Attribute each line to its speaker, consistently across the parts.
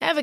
Speaker 1: Ever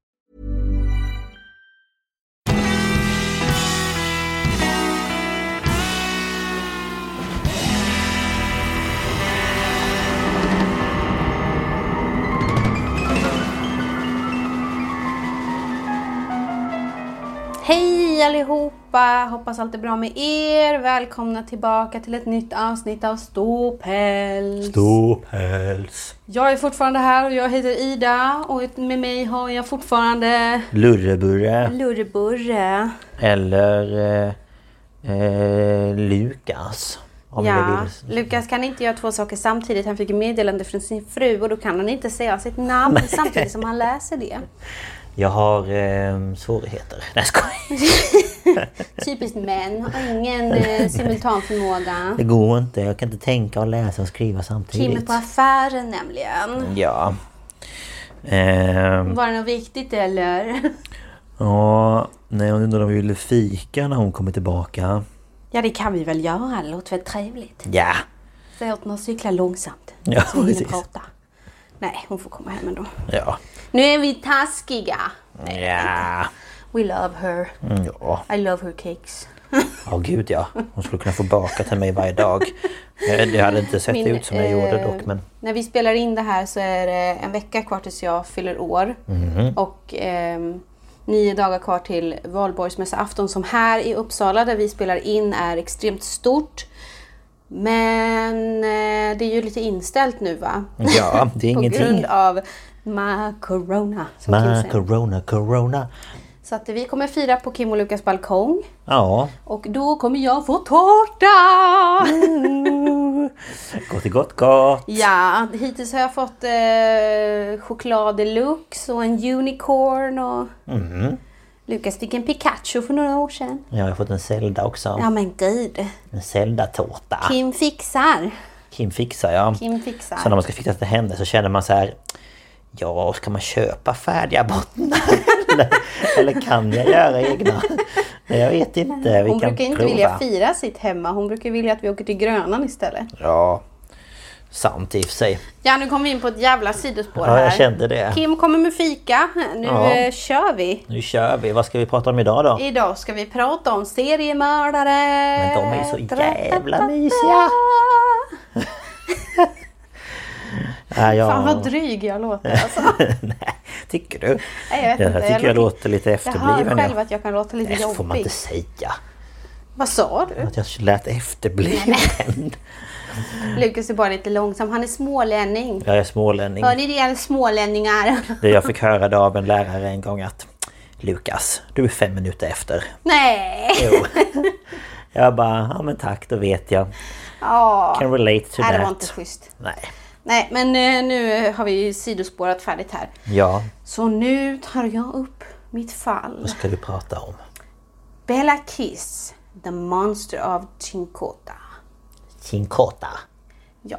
Speaker 2: Hej allihopa! Hoppas allt är bra med er. Välkomna tillbaka till ett nytt avsnitt av Ståpäls.
Speaker 3: Ståpäls.
Speaker 2: Jag är fortfarande här och jag heter Ida och med mig har jag fortfarande
Speaker 3: Lurreburre.
Speaker 2: Lurreburre.
Speaker 3: Eller eh, eh, Lukas. Om
Speaker 2: Ja,
Speaker 3: ni vill.
Speaker 2: Lukas kan inte göra två saker samtidigt. Han fick ett meddelande från sin fru och då kan han inte säga sitt namn samtidigt som han läser det.
Speaker 3: Jag har eh, svårigheter. Nej jag skojar.
Speaker 2: Typiskt män, har ingen eh, simultanförmåga.
Speaker 3: Det går inte. Jag kan inte tänka och läsa och skriva
Speaker 2: Kim är
Speaker 3: samtidigt.
Speaker 2: på affären nämligen.
Speaker 3: Ja. Ehm,
Speaker 2: Var det något viktigt eller?
Speaker 3: ja. Nej, jag undrar om vi ville fika när hon kommer tillbaka.
Speaker 2: Ja, det kan vi väl göra. Det låter väl trevligt.
Speaker 3: Ja.
Speaker 2: Säg åt hon att cykla långsamt.
Speaker 3: Ja,
Speaker 2: så vi hinner
Speaker 3: precis.
Speaker 2: prata. Nej, hon får komma hem ändå.
Speaker 3: Ja.
Speaker 2: Nu är vi taskiga.
Speaker 3: Ja.
Speaker 2: We love her.
Speaker 3: Mm. Ja.
Speaker 2: I love her cakes.
Speaker 3: Ja, gud ja. Hon skulle kunna få baka till mig varje dag. Eh, Det hade inte sett
Speaker 2: Min,
Speaker 3: ut som jag gjorde
Speaker 2: eh,
Speaker 3: dock, men...
Speaker 2: När vi spelar in det här så är det en vecka kvar tills jag fyller år.
Speaker 3: Mhm.
Speaker 2: Och ehm, nio dagar kvar till valborgsmässoafton som här i Uppsala där vi spelar in är extremt stort. Men eh, det är ju lite inställt nu va?
Speaker 3: Ja, det är
Speaker 2: På grund
Speaker 3: ingenting.
Speaker 2: av ma corona. Som Kim
Speaker 3: Ma,
Speaker 2: säger.
Speaker 3: corona, corona.
Speaker 2: Så att vi kommer fira på Kim och Lukas balkong.
Speaker 3: Ja,
Speaker 2: Och då kommer jag få tårta!
Speaker 3: gott i gott gott.
Speaker 2: Ja, hittills har jag fått eh, choklad deluxe och en unicorn och...
Speaker 3: Mhm.
Speaker 2: Lukas fick en Pikachu för några år sedan.
Speaker 3: Jag har fått en Zelda också.
Speaker 2: Ja men gud.
Speaker 3: En Zelda-tårta.
Speaker 2: Kim fixar.
Speaker 3: Kim fixar ja.
Speaker 2: Kim fixar.
Speaker 3: Så när man ska fixa till henne så känner man så här... Ja, ska man köpa färdiga bottnar? eller, eller kan jag göra egna? Nej, jag vet inte. Vi
Speaker 2: Hon
Speaker 3: kan
Speaker 2: brukar inte
Speaker 3: prova.
Speaker 2: vilja fira sitt hemma. Hon brukar vilja att vi åker till Grönan istället.
Speaker 3: Ja, sant i och för sig.
Speaker 2: Ja, nu kom vi in på ett jävla sidospår
Speaker 3: Ja,
Speaker 2: här.
Speaker 3: jag kände det.
Speaker 2: Kim kommer med fika. Nu
Speaker 3: Ja.
Speaker 2: eh, kör vi.
Speaker 3: Nu kör vi. Vad ska vi prata om idag då?
Speaker 2: Idag ska vi prata om seriemördare. Men
Speaker 3: de är ju så jävla mysiga. Ja, jag...
Speaker 2: Fan vad dryg jag låter alltså.
Speaker 3: Nej, tycker du?
Speaker 2: Nej, jag vet
Speaker 3: Den här
Speaker 2: inte.
Speaker 3: tycker jag, låter lite
Speaker 2: Jag hör
Speaker 3: efterbliven.
Speaker 2: själv att jag kan låta lite
Speaker 3: Nej, så får man
Speaker 2: jobbig.
Speaker 3: inte säga.
Speaker 2: Vad sa du?
Speaker 3: Att jag lät efterbliven.
Speaker 2: Lukas är bara lite långsam. Han är smålänning.
Speaker 3: Jag är smålänning.
Speaker 2: Hör ni det alla smålänningar?
Speaker 3: Det jag fick höra det av en lärare en gång att Lukas, du är fem minuter efter.
Speaker 2: Nej!
Speaker 3: Jo. Jag bara, ja men tack, då vet jag.
Speaker 2: Ja.
Speaker 3: Can relate to
Speaker 2: Nej,
Speaker 3: that.
Speaker 2: det var inte schysst.
Speaker 3: Nej.
Speaker 2: Nej, men eh, nu har vi ju sidospårat färdigt här.
Speaker 3: Ja,
Speaker 2: Så nu tar jag upp mitt fall.
Speaker 3: vad ska vi prata om?
Speaker 2: Bella Kiss, The Monster of Chincota.
Speaker 3: Chincota.
Speaker 2: Ja.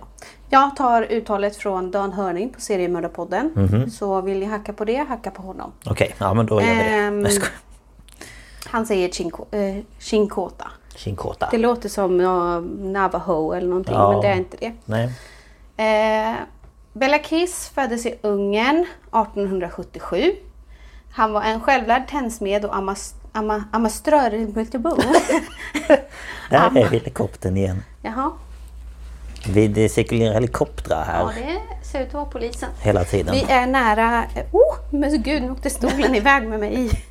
Speaker 2: Jag tar uttalet från Dan Hörning på Seriemördarpodden. Så vill ni hacka på det, hacka på honom.
Speaker 3: Okej, ja men då gör vi det.
Speaker 2: Ehm.
Speaker 3: Nej, jag skojar.
Speaker 2: Han säger chinko, eh, chinkota.
Speaker 3: Chinkota.
Speaker 2: Det låter som uh, navajo eller någonting,
Speaker 3: Ja.
Speaker 2: men det är inte det.
Speaker 3: Nej.
Speaker 2: Eh, Bela Kiss föddes i Ungern 1877. Han var en självlärd tändsmed och amas- ama- amastör i Multibo.
Speaker 3: Där är helikoptern igen.
Speaker 2: Jaha,
Speaker 3: Vi det cirkulerar helikoptrar här
Speaker 2: ja, det ser ut att vara polisen.
Speaker 3: hela tiden.
Speaker 2: Vi är nära... Oh, men gud, nu åkte stolen iväg med mig.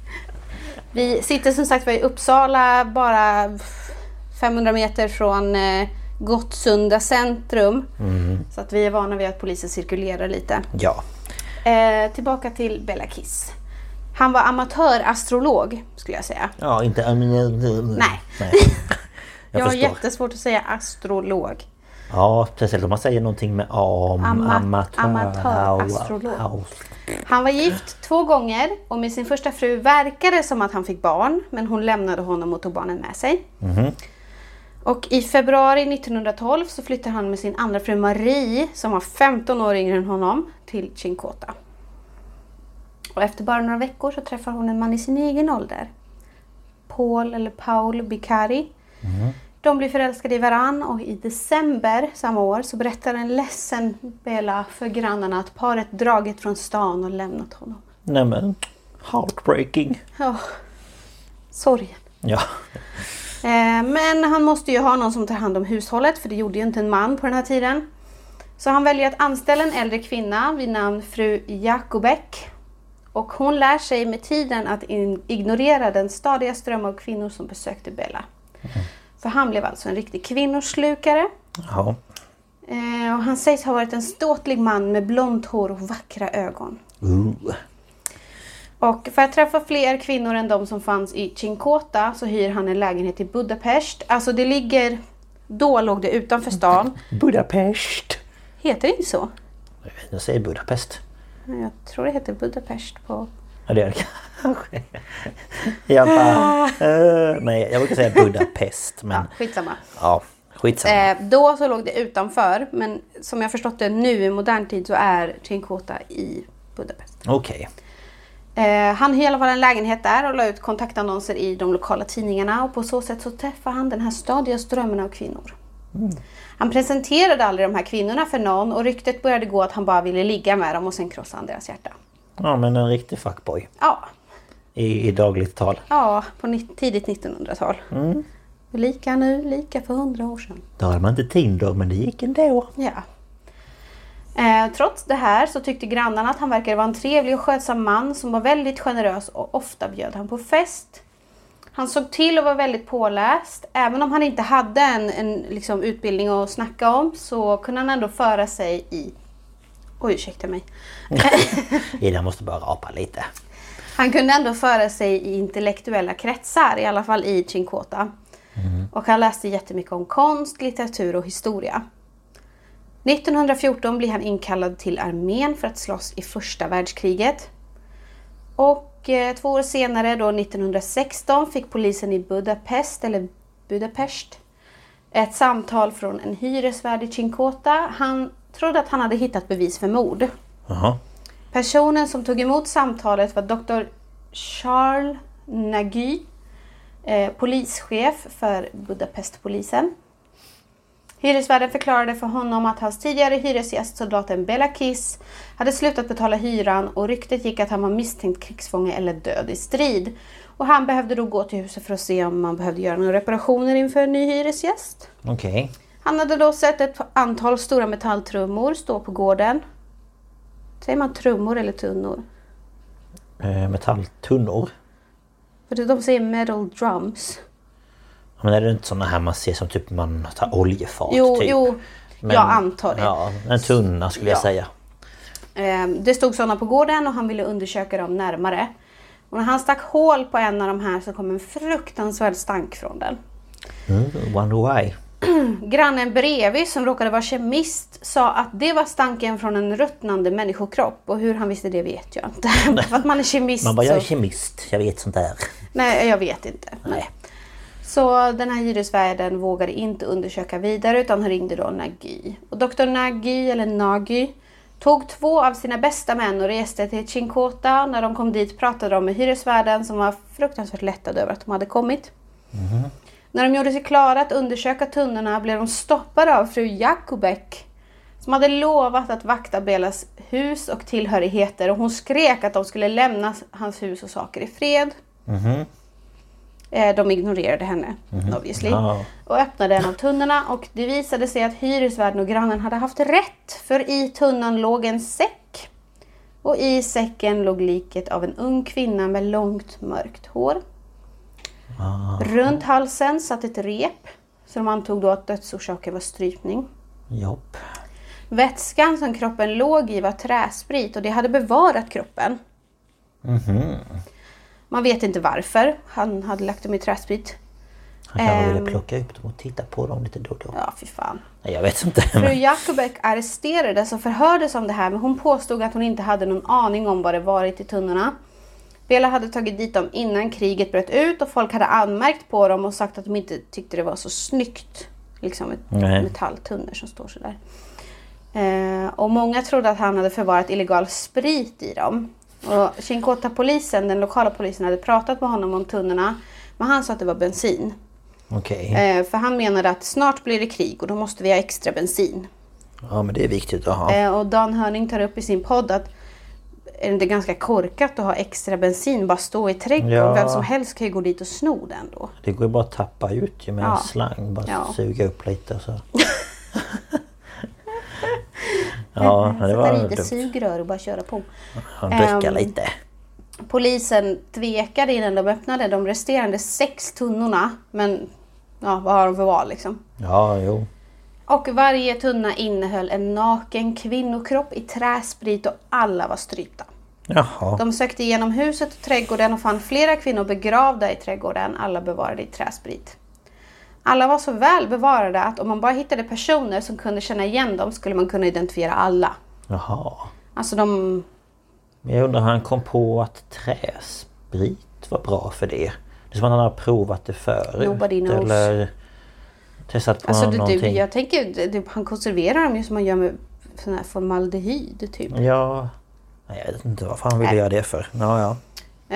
Speaker 2: Vi sitter som sagt var i Uppsala, bara 500 meter från eh, Gottsunda centrum.
Speaker 3: Mm.
Speaker 2: Så att vi är vana vid att polisen cirkulerar lite.
Speaker 3: Ja.
Speaker 2: Eh, tillbaka till Bella Kiss. Han var amatörastrolog, skulle jag säga.
Speaker 3: Ja, inte...
Speaker 2: Nej.
Speaker 3: Nej.
Speaker 2: Jag,
Speaker 3: Jag
Speaker 2: har
Speaker 3: förstår.
Speaker 2: jättesvårt att säga astrolog.
Speaker 3: Ja, speciellt om man säger någonting med am,
Speaker 2: Ama-
Speaker 3: amatör...
Speaker 2: amatörastrolog.
Speaker 3: au- au-
Speaker 2: Han var gift två gånger och med sin första fru verkade det som att han fick barn, men hon lämnade honom och tog barnen med sig. Och i februari 1912 så flyttade han med sin andra fru Marie, som var 15 år yngre än honom, till Chincota. Och efter bara några veckor så träffar hon en man i sin egen ålder. Paul eller Paul Bicari. De blir förälskade i varann och i december samma år så berättar en ledsen Bella för grannarna att paret dragit från stan och lämnat honom.
Speaker 3: Nej men... Heartbreaking.
Speaker 2: Ja, sorgen.
Speaker 3: Ja.
Speaker 2: Eh, Men han måste ju ha någon som tar hand om hushållet för det gjorde ju inte en man på den här tiden. Så han väljer att anställa en äldre kvinna vid namn fru Jakobek. Och hon lär sig med tiden att in- ignorera den stadiga ström av kvinnor som besökte Bella. För han blev alltså en riktig kvinnoslukare.
Speaker 3: Ja.
Speaker 2: Eh, och han sägs ha varit en ståtlig man med blont hår och vackra ögon.
Speaker 3: Ooh.
Speaker 2: Och för att träffa fler kvinnor än de som fanns i Chinkota så hyr han en lägenhet i Budapest. Alltså det ligger... Då låg det utanför stan.
Speaker 3: Budapest.
Speaker 2: Heter det inte så?
Speaker 3: Nu säger Budapest.
Speaker 2: Nej, Jag tror det heter Budapest på...
Speaker 3: Ja, det gör det kanske. Jag bara... eh, nej, jag brukar säga Budapest. Men
Speaker 2: Skitsamma.
Speaker 3: ja, skitsamma.
Speaker 2: Eh, då så låg det utanför, men som jag förstått det nu i modern tid så är Chinkota i Budapest.
Speaker 3: Okej.
Speaker 2: Eh, han hyr i alla fall en lägenhet där och la ut kontaktannonser i de lokala tidningarna och på så sätt så träffade han den här stadiga strömmen av kvinnor. Han presenterade aldrig de här kvinnorna för någon och ryktet började gå att han bara ville ligga med dem och sen krossa han deras hjärta.
Speaker 3: Ja, men en riktig fuckboy.
Speaker 2: Ja,
Speaker 3: I, i dagligt tal.
Speaker 2: ja på ni- tidigt 1900-tal. Och Lika nu, lika för hundra år sedan.
Speaker 3: Då hade man inte Tinder, men det gick ändå.
Speaker 2: Ja. Eh, trots det här så tyckte grannarna att han verkade vara en trevlig och skötsam man som var väldigt generös och ofta bjöd han på fest. Han såg till att vara väldigt påläst. Även om han inte hade en, en liksom, utbildning att snacka om så kunde han ändå föra sig i... Oj, ursäkta mig.
Speaker 3: Ida måste bara rapa lite.
Speaker 2: Han kunde ändå föra sig i intellektuella kretsar, i alla fall i Chinkota. Och han läste jättemycket om konst, litteratur och historia. 1914 blir han inkallad till armén för att slåss i första världskriget. Och eh, två år senare, då 1916, fick polisen i Budapest, eller Budapest, ett samtal från en hyresvärd i Chinkota. Han trodde att han hade hittat bevis för mord.
Speaker 3: Jaha.
Speaker 2: Personen som tog emot samtalet var Dr. Charles Nagy, eh, polischef för Budapestpolisen. Hyresvärden förklarade för honom att hans tidigare hyresgäst, soldaten Bela Kiss, hade slutat betala hyran och ryktet gick att han var misstänkt krigsfånge eller död i strid. Och han behövde då gå till huset för att se om man behövde göra några reparationer inför en ny hyresgäst.
Speaker 3: Okej.
Speaker 2: Han hade då sett ett antal stora metalltrummor stå på gården. Säger man trummor eller tunnor?
Speaker 3: Eh, metalltunnor.
Speaker 2: För de säger metal drums.
Speaker 3: Ja, Men är det inte sådana här man ser som typ man tar oljefat?
Speaker 2: Jo,
Speaker 3: typ?
Speaker 2: jo.
Speaker 3: Men-
Speaker 2: jag antar det.
Speaker 3: Ja, en tunna skulle jag
Speaker 2: Ja.
Speaker 3: säga.
Speaker 2: Eh, Det stod sådana på gården och han ville undersöka dem närmare. Och när han stack hål på en av de här så kom en fruktansvärd stank från den.
Speaker 3: Mm, wonder why.
Speaker 2: Grannen bredvid som råkade vara kemist sa att det var stanken från en ruttnande människokropp. Och hur han visste det vet jag inte. För att man är kemist.
Speaker 3: Man bara, jag är
Speaker 2: så-
Speaker 3: kemist, jag vet sånt där.
Speaker 2: Nej, jag vet inte. Men- Så den här hyresvärden vågade inte undersöka vidare utan han ringde då Nagy. Och doktor Nagy, eller Nagy, tog två av sina bästa män och reste till Chinkota. När de kom dit pratade de med hyresvärden som var fruktansvärt lättad över att de hade kommit. När de gjorde sig klara att undersöka tunnorna blev de stoppade av fru Jakobek som hade lovat att vakta Belas hus och tillhörigheter och hon skrek att de skulle lämna hans hus och saker i fred. Eh, De ignorerade henne, obviously,
Speaker 3: Ja.
Speaker 2: och öppnade en av tunnorna och det visade sig att hyresvärden och grannen hade haft rätt för i tunnan låg en säck. Och i säcken låg liket av en ung kvinna med långt mörkt hår. Runt halsen satt ett rep, så de antog då att dödsorsaken var strypning.
Speaker 3: Jopp.
Speaker 2: Vätskan som kroppen låg i var träsprit och det hade bevarat kroppen. Man vet inte varför han hade lagt dem i träsprit.
Speaker 3: Han kanske
Speaker 2: Ehm.
Speaker 3: ville plocka ut dem och titta på dem lite då och då.
Speaker 2: Ja, fy fan.
Speaker 3: Nej, jag vet inte.
Speaker 2: Fru
Speaker 3: Men,
Speaker 2: Jakobek arresterades och förhördes om det här men hon påstod att hon inte hade någon aning om vad det varit i tunnorna. Bela hade tagit dit dem innan kriget bröt ut och folk hade anmärkt på dem och sagt att de inte tyckte det var så snyggt. Liksom ett
Speaker 3: Nej.
Speaker 2: metalltunnor som står sådär. Eh, och många trodde att han hade förvarat illegal sprit i dem. Och Chinkota-polisen, den lokala polisen, hade pratat med honom om tunnorna. Men han sa att det var bensin.
Speaker 3: Okej.
Speaker 2: Eh, för han menade att snart blir det krig och då måste vi ha extra bensin.
Speaker 3: Ja, men det är viktigt att ha.
Speaker 2: Eh, Och Dan Hörning tar upp i sin podd att är det inte ganska korkat att ha extra bensin bara stå i trädgården?
Speaker 3: Ja.
Speaker 2: Vem som helst kan ju gå dit och sno den då.
Speaker 3: Det går ju bara att tappa ut ju med
Speaker 2: Ja.
Speaker 3: en slang. Bara
Speaker 2: Ja.
Speaker 3: suga upp lite och så. ja, det var
Speaker 2: Sätta dit ett
Speaker 3: dumt.
Speaker 2: sugrör och bara köra på.
Speaker 3: Ja, Dricka
Speaker 2: Ehm.
Speaker 3: lite.
Speaker 2: Polisen tvekade innan de öppnade de resterande sex tunnorna. Men ja, vad har de för val liksom?
Speaker 3: Ja, jo.
Speaker 2: Och varje tunna innehöll en naken kvinnokropp i träsprit och alla var strypta.
Speaker 3: Jaha.
Speaker 2: De sökte igenom huset och trädgården och fann flera kvinnor begravda i trädgården, alla bevarade i träsprit. Alla var så väl bevarade att om man bara hittade personer som kunde känna igen dem skulle man kunna identifiera alla.
Speaker 3: Jaha.
Speaker 2: Alltså de...
Speaker 3: Men jag undrar hur han kom på att träsprit var bra för det. Det är som att han har provat det förut.
Speaker 2: Nobody knows.
Speaker 3: Eller testat på
Speaker 2: Alltså det,
Speaker 3: någonting.
Speaker 2: det, jag tänker, det, det, han konserverar dem ju som man gör med sån här formaldehyd typ.
Speaker 3: Ja. Nej, jag vet inte varför han ville göra det för. Ja, ja.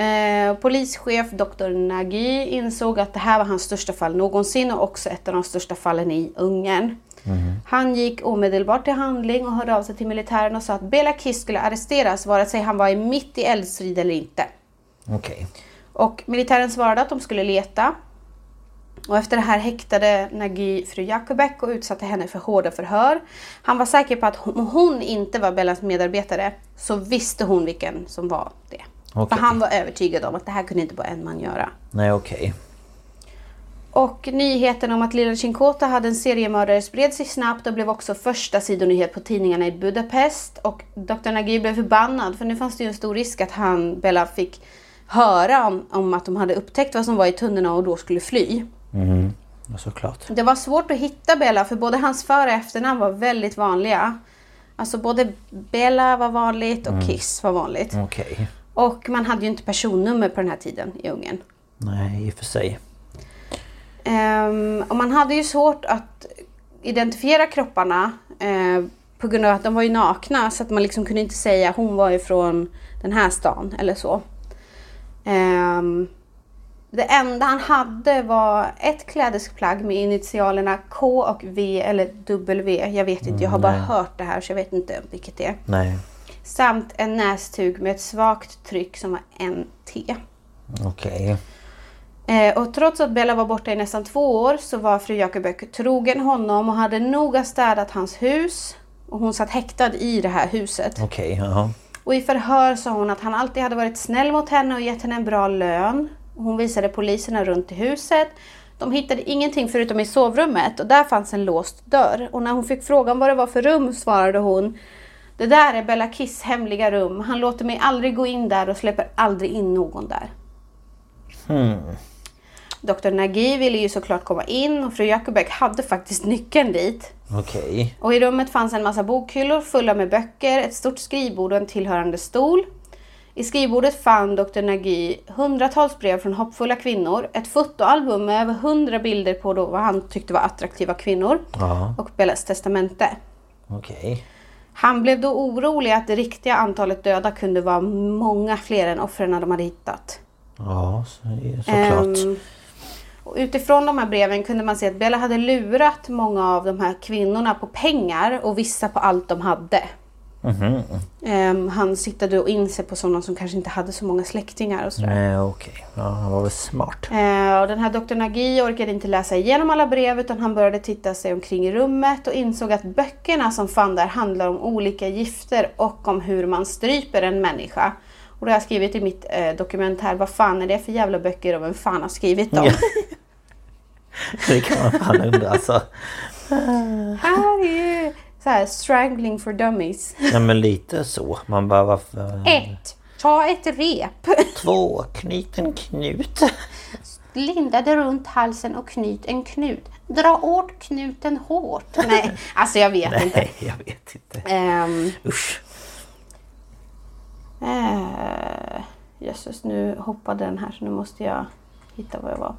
Speaker 2: Eh, polischef Dr. Nagy insåg att det här var hans största fall någonsin och också ett av de största fallen i Ungern. Han gick omedelbart till handling och hörde av sig till militären och sa att Bela Kiss skulle arresteras vare sig han var i mitt i eldstrid eller inte.
Speaker 3: Okej.
Speaker 2: Och militären svarade att de skulle leta. Och efter det här häktade Nagy fru Jakobek och utsatte henne för hårda förhör. Han var säker på att om hon inte var Bellas medarbetare så visste hon vilken som var det.
Speaker 3: Okej.
Speaker 2: För han var övertygad om att det här kunde inte bara en man göra.
Speaker 3: Nej, okej.
Speaker 2: Och nyheten om att lilla Chinkota hade en seriemördare spred sig snabbt och blev också första sidonyhet på tidningarna i Budapest. Och Dr Nagy blev förbannad för nu fanns det ju en stor risk att han, Bella, fick höra om, om att de hade upptäckt vad som var i tunnorna och då skulle fly.
Speaker 3: Ja, såklart.
Speaker 2: Det var svårt att hitta Bella för både hans för och efternamn var väldigt vanliga. Alltså både Bella var vanligt och Kiss var vanligt.
Speaker 3: Okej.
Speaker 2: Och man hade ju inte personnummer på den här tiden i Ungern.
Speaker 3: Nej, i och för sig.
Speaker 2: Ehm, och man hade ju svårt att identifiera kropparna eh, på grund av att de var ju nakna så att man liksom kunde inte säga hon var ifrån den här stan eller så. Ehm, det enda han hade var ett klädesplagg med initialerna K och V eller W. Jag vet inte, jag har bara hört det här så jag vet inte vilket det är.
Speaker 3: Nej,
Speaker 2: Samt en nästug med ett svagt tryck som var NT.
Speaker 3: okej.
Speaker 2: Eh, och trots att Bella var borta i nästan två år så var fru Jakobek trogen honom och hade noga städat hans hus. Och hon satt häktad i det här huset.
Speaker 3: Okej, jaha.
Speaker 2: Och i förhör sa hon att han alltid hade varit snäll mot henne och gett henne en bra lön. Och Hon visade poliserna runt i huset. De hittade ingenting förutom i sovrummet och där fanns en låst dörr. Och när hon fick frågan vad det var för rum svarade hon Det där är Bella Kiss hemliga rum. Han låter mig aldrig gå in där och släpper aldrig in någon där. Dr Nagy ville ju såklart komma in och fru Jakobek hade faktiskt nyckeln dit.
Speaker 3: Okej.
Speaker 2: Och i rummet fanns en massa bokhyllor fulla med böcker, ett stort skrivbord och en tillhörande stol. I skrivbordet fann Dr. Nagy hundratals brev från hoppfulla kvinnor, ett fotoalbum med över hundra bilder på då vad han tyckte var attraktiva kvinnor
Speaker 3: Ja,
Speaker 2: och Bellas testamente.
Speaker 3: okej.
Speaker 2: Han blev då orolig att det riktiga antalet döda kunde vara många fler än offren de hade hittat.
Speaker 3: Ja, så, såklart.
Speaker 2: Ehm, och utifrån de här breven kunde man se att Bella hade lurat många av de här kvinnorna på pengar och vissa på allt de hade.
Speaker 3: Mm-hmm.
Speaker 2: Ehm, han siktade då in sig på sådana som kanske inte hade så många släktingar och sådär.
Speaker 3: Nej, okej. Ja, han var väl smart.
Speaker 2: Eh, och den här doktor Nagy orkade inte läsa igenom alla brev utan han började titta sig omkring i rummet och insåg att böckerna som fann där handlar om olika gifter och om hur man stryper en människa. Och det har jag skrivit i mitt eh, dokument här, vad fan är det för jävla böcker och vem fan har skrivit dem?
Speaker 3: Ja. Det kan man fan undra alltså.
Speaker 2: här är ju så här, strangling for dummies.
Speaker 3: Nej men lite så. Man bara varför...
Speaker 2: Ett, Ta ett rep,
Speaker 3: Två, knyt en knut.
Speaker 2: linda det runt halsen och knyt en knut. Dra åt knuten hårt. Nej, alltså jag vet inte.
Speaker 3: Nej, jag vet inte.
Speaker 2: Ehm,
Speaker 3: Usch.
Speaker 2: Eh, Jösses, nu hoppade den här så nu måste jag hitta vad jag var.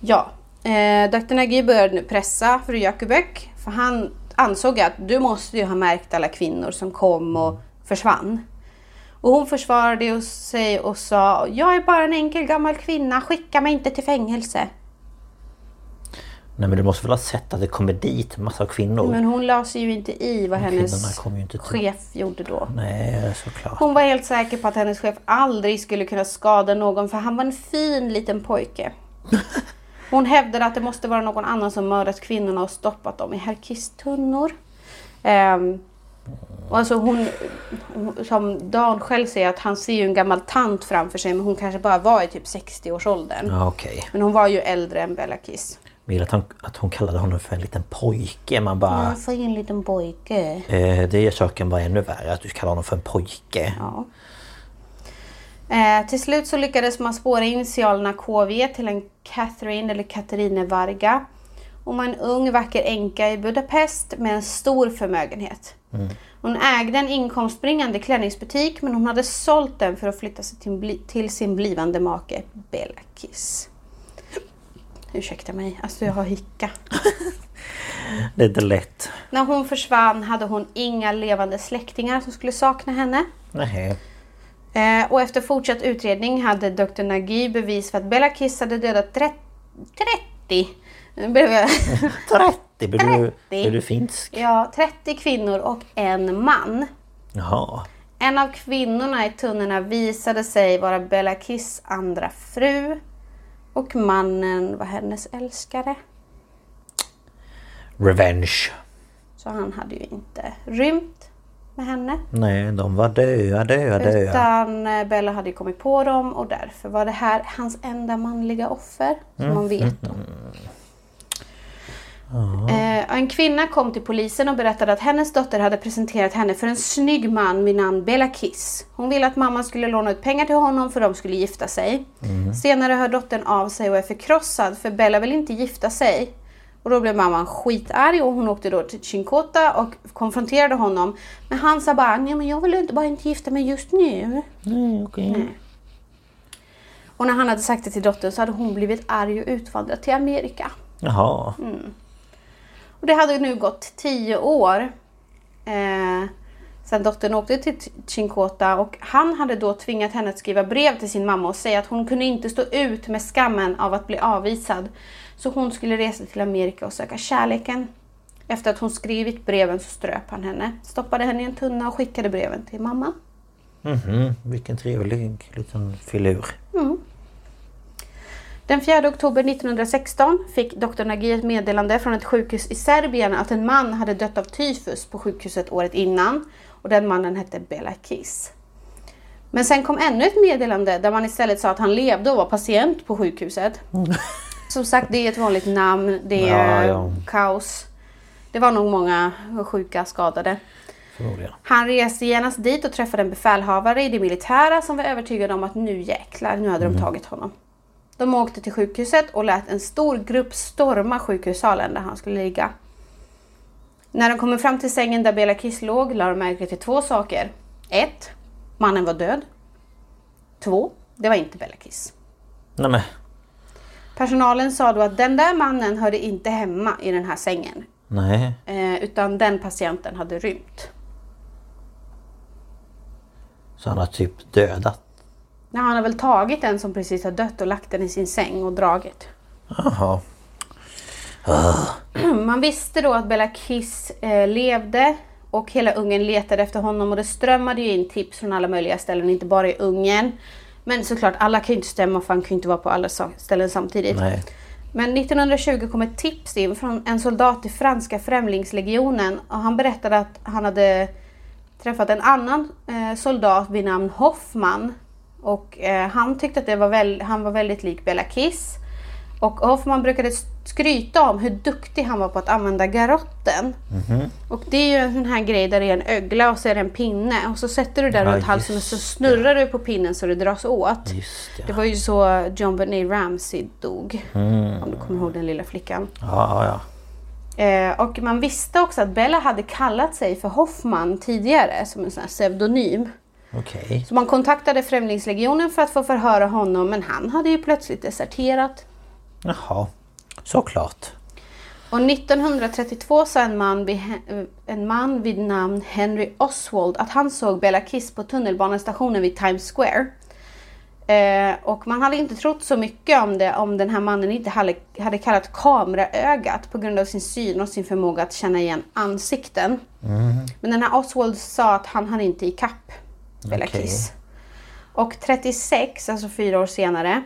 Speaker 2: Ja, eh, Dr. Nagy började nu pressa fru Jökeböck för han ansåg att du måste ju ha märkt alla kvinnor som kom och försvann. Och hon försvarade ju sig och sa jag är bara en enkel gammal kvinna, skicka mig inte till fängelse.
Speaker 3: Nej men du måste väl ha sett att det kommer dit en massa kvinnor?
Speaker 2: Men hon la sig ju inte i vad
Speaker 3: kvinnorna
Speaker 2: hennes
Speaker 3: kom ju inte till.
Speaker 2: chef gjorde då.
Speaker 3: Nej, såklart.
Speaker 2: Hon var helt säker på att hennes chef aldrig skulle kunna skada någon för han var en fin liten pojke. Hon hävdade att det måste vara någon annan som mördat kvinnorna och stoppat dem i herkistunnor. Ehm, och alltså hon, som Dan själv säger, att han ser ju en gammal tant framför sig men hon kanske bara var i typ 60-årsåldern.
Speaker 3: Ja, okej.
Speaker 2: Men hon var ju äldre än Bella Kiss.
Speaker 3: Men att hon, att hon kallade honom för en liten pojke. Man bara...
Speaker 2: Han var ju en liten pojke.
Speaker 3: Eh, det gör saken bara ännu värre. Att du kallar honom för en pojke.
Speaker 2: Ja. Eh, till slut så lyckades man spåra initialerna KV till en Catherine eller Katarine Varga. Hon var en ung vacker änka i Budapest med en stor förmögenhet. Hon ägde en inkomstbringande klänningsbutik men hon hade sålt den för att flytta sig till, bli- till sin blivande make Bella Kiss. Ursäkta mig, alltså jag har hicka.
Speaker 3: Det är inte lätt.
Speaker 2: När hon försvann hade hon inga levande släktingar som skulle sakna henne.
Speaker 3: Nej.
Speaker 2: Eh, och efter fortsatt utredning hade Dr. Nagy bevis för att Bella Kiss hade dödat tre- 30 Nu blev jag-
Speaker 3: 30! Blir du,
Speaker 2: 30.
Speaker 3: blir du finsk?
Speaker 2: ja, 30 kvinnor och en man.
Speaker 3: Jaha.
Speaker 2: En av kvinnorna i tunnorna visade sig vara Bella Kiss andra fru och mannen var hennes älskare.
Speaker 3: Revenge.
Speaker 2: Så han hade ju inte rymt med henne.
Speaker 3: Nej, de var döda, döda, döda.
Speaker 2: Utan eh, Bella hade ju kommit på dem och därför var det här hans enda manliga offer som man vet om. Eh, en kvinna kom till polisen och berättade att hennes dotter hade presenterat henne för en snygg man vid namn Bella Kiss. Hon ville att mamman skulle låna ut pengar till honom för de skulle gifta sig.
Speaker 3: Mhm.
Speaker 2: Senare hör dottern av sig och är förkrossad för Bella vill inte gifta sig. Och då blev mamman skitarg och hon åkte då till Chincota och konfronterade honom. Men han sa bara, nej men jag vill inte, bara inte gifta mig just nu.
Speaker 3: Nej, okej.
Speaker 2: Och när han hade sagt det till dottern så hade hon blivit arg och utvandrat till Amerika.
Speaker 3: Jaha.
Speaker 2: Och det hade ju nu gått tio år eh, sedan dottern åkte till T- Chincota och han hade då tvingat henne att skriva brev till sin mamma och säga att hon kunde inte stå ut med skammen av att bli avvisad. Så hon skulle resa till Amerika och söka kärleken. Efter att hon skrivit breven så ströp han henne, stoppade henne i en tunna och skickade breven till mamman.
Speaker 3: Mhm, vilken trevlig liten filur.
Speaker 2: Den 4 oktober 1916 fick doktor Nagy ett meddelande från ett sjukhus i Serbien att en man hade dött av tyfus på sjukhuset året innan och den mannen hette Bela Kiss. Men sen kom ännu ett meddelande där man istället sa att han levde och var patient på sjukhuset. Som sagt, det är ett vanligt namn, det är
Speaker 3: Mm. Ja, ja.
Speaker 2: kaos. Det var nog många sjuka skadade.
Speaker 3: Förmodligen.
Speaker 2: Han reste genast dit och träffade en befälhavare i det militära som var övertygad om att nu jäklar, nu hade de tagit honom. De åkte till sjukhuset och lät en stor grupp storma sjukhussalen där han skulle ligga. När de kommer fram till sängen där Bela Kiss låg lade de märke till två saker. Ett, mannen var död. Två, det var inte Bela Kiss.
Speaker 3: Nej men.
Speaker 2: Personalen sa då att den där mannen hörde inte hemma i den här sängen.
Speaker 3: Nej.
Speaker 2: Eh, utan den patienten hade rymt.
Speaker 3: Så han har typ dödat.
Speaker 2: Nej, han har väl tagit den som precis har dött och lagt den i sin säng och dragit.
Speaker 3: Jaha.
Speaker 2: Man visste då att Bella Kiss eh, levde och hela Ungern letade efter honom och det strömmade ju in tips från alla möjliga ställen, inte bara i Ungern. Men såklart, alla kan ju inte stämma för han kan ju inte vara på alla sa- ställen samtidigt.
Speaker 3: Nej.
Speaker 2: Men 1920 kom ett tips in från en soldat i franska främlingslegionen och han berättade att han hade träffat en annan eh, soldat vid namn Hoffman och eh, han tyckte att det var väl, han var väldigt lik Bella Kiss. Och Hoffman brukade skryta om hur duktig han var på att använda garotten. Och det är ju en sån här grej där det är en ögla och så är det en pinne och så sätter du den
Speaker 3: Ja,
Speaker 2: runt halsen och så
Speaker 3: just
Speaker 2: snurrar du på pinnen så det dras åt.
Speaker 3: Just det.
Speaker 2: Det var ju så John Benet Ramsey dog.
Speaker 3: Mm.
Speaker 2: Om du kommer ihåg den lilla flickan.
Speaker 3: Ja, ja, ja.
Speaker 2: Eh, och man visste också att Bella hade kallat sig för Hoffman tidigare som en sån här pseudonym.
Speaker 3: Okej.
Speaker 2: Så man kontaktade Främlingslegionen för att få förhöra honom men han hade ju plötsligt deserterat.
Speaker 3: Jaha. Såklart.
Speaker 2: Och 1932 sa en man, vid, eh, en man vid namn Henry Oswald att han såg Bella Kiss på tunnelbanestationen vid Times Square. Eh, och man hade inte trott så mycket om det om den här mannen inte hade, hade kallat kameraögat på grund av sin syn och sin förmåga att känna igen ansikten. Men den här Oswald sa att han hann inte ikapp Bella
Speaker 3: Okej.
Speaker 2: Kiss. Och 36, alltså fyra år senare,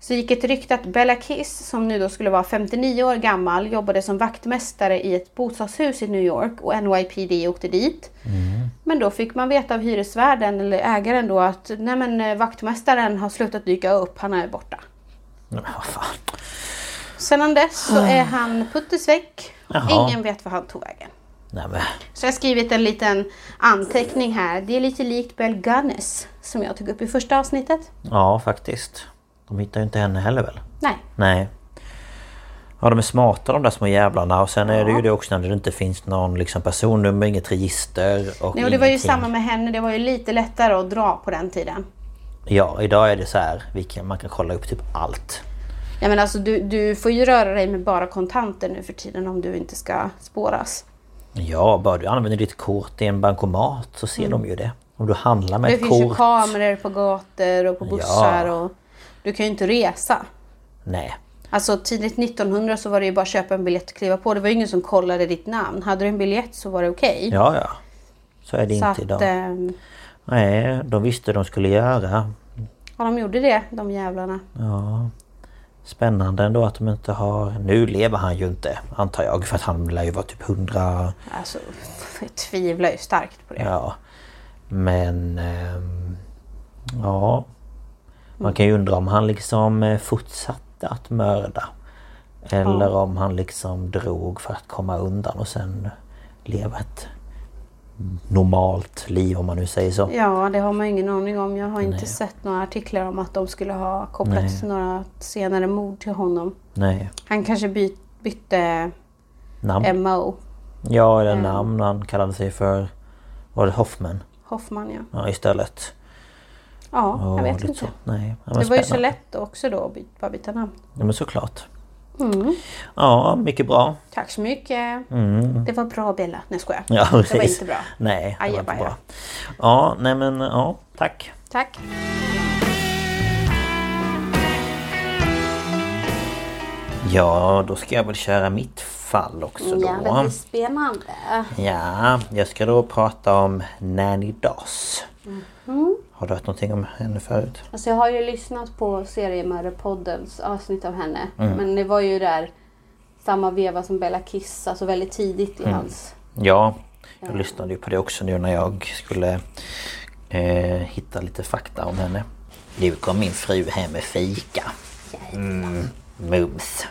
Speaker 2: så gick ett rykte att Bella Kiss, som nu då skulle vara 59 år gammal, jobbade som vaktmästare i ett bostadshus i New York och NYPD åkte dit. Men då fick man veta av hyresvärden eller ägaren då att nej men, eh, vaktmästaren har slutat dyka upp, han är borta.
Speaker 3: Nej, men vad fan.
Speaker 2: Sedan dess så är han puttesväck.
Speaker 3: Jaha.
Speaker 2: Ingen vet var han tog vägen.
Speaker 3: Nej men.
Speaker 2: Så jag har skrivit en liten anteckning här. Det är lite likt Bell Gunness som jag tog upp i första avsnittet.
Speaker 3: Ja, faktiskt. De hittar ju inte henne heller väl?
Speaker 2: Nej,
Speaker 3: Nej. Ja, de är smarta de där små jävlarna. Och sen är det ju det också när det inte finns någon liksom, personnummer, inget register och
Speaker 2: Nej, och det var ju
Speaker 3: ingenting.
Speaker 2: samma med henne. Det var ju lite lättare att dra på den tiden.
Speaker 3: Ja, idag är det så här. Vi kan, man kan kolla upp typ allt.
Speaker 2: Jag menar, alltså, du, du får ju röra dig med bara kontanter nu för tiden om du inte ska spåras.
Speaker 3: Ja, bara du använder ditt kort i en bankomat så ser de ju det. Om du handlar med
Speaker 2: Mm. Det
Speaker 3: ett
Speaker 2: finns ju
Speaker 3: kort.
Speaker 2: kameror på gator och på bussar. Och du kan ju inte resa.
Speaker 3: Nej.
Speaker 2: Alltså tidigt 1900 så var det ju bara att köpa en biljett och kliva på. Det var ju ingen som kollade ditt namn. Hade du en biljett så var det okej.
Speaker 3: Ja, ja. Så är det
Speaker 2: så
Speaker 3: inte
Speaker 2: att,
Speaker 3: idag.
Speaker 2: ehm,
Speaker 3: Nej, de visste de skulle göra.
Speaker 2: ja, de gjorde det, de jävlarna.
Speaker 3: Ja. Spännande ändå att de inte har... Nu lever han ju inte, antar jag. För att han lär ju vara typ 100...
Speaker 2: Alltså, jag tvivlar ju starkt på det.
Speaker 3: Ja. Men... ehm, Ja. Man kan ju undra om han liksom eh, fortsatte att mörda. Eller om han liksom drog för att komma undan och sen leva ett normalt liv om man nu säger så.
Speaker 2: Ja, det har man ju ingen aning om. Jag har inte sett några artiklar om att de skulle ha kopplat
Speaker 3: Nej.
Speaker 2: några senare mord till honom.
Speaker 3: Nej.
Speaker 2: Han kanske by- bytte
Speaker 3: Namn?
Speaker 2: MO.
Speaker 3: Ja, eller namn. Han kallade sig för... Var det Hoffman?
Speaker 2: Hoffman ja.
Speaker 3: Ja, istället.
Speaker 2: Ja, jag
Speaker 3: Ja,
Speaker 2: vet
Speaker 3: lite
Speaker 2: inte.
Speaker 3: så. Nej, ja, men
Speaker 2: Det var ju så
Speaker 3: spännande.
Speaker 2: lätt också då att by- bara byta namn.
Speaker 3: Ja, men såklart.
Speaker 2: Mm.
Speaker 3: Ja, mycket bra.
Speaker 2: Tack så mycket. Det var bra Bella. Nej skojar.
Speaker 3: Mm. Ja,
Speaker 2: det var
Speaker 3: precis.
Speaker 2: inte bra.
Speaker 3: Nej, det var inte
Speaker 2: Ajabaja.
Speaker 3: bra. Ja, nej men ja, tack.
Speaker 2: Tack.
Speaker 3: Ja, då ska jag väl köra mitt fall också då.
Speaker 2: spännande.
Speaker 3: Ja, jag ska då prata om Nanny Doss. Har du hört någonting om henne förut?
Speaker 2: Alltså jag har ju lyssnat på seriemördarpoddens avsnitt av henne.
Speaker 3: Mm.
Speaker 2: Men det var ju där samma veva som Bella Kiss, alltså väldigt tidigt i
Speaker 3: Mm.
Speaker 2: hans...
Speaker 3: Ja, jag lyssnade ju på det också nu när jag skulle eh, hitta lite fakta om henne. Nu kom min fru hem med fika. Mm, mums.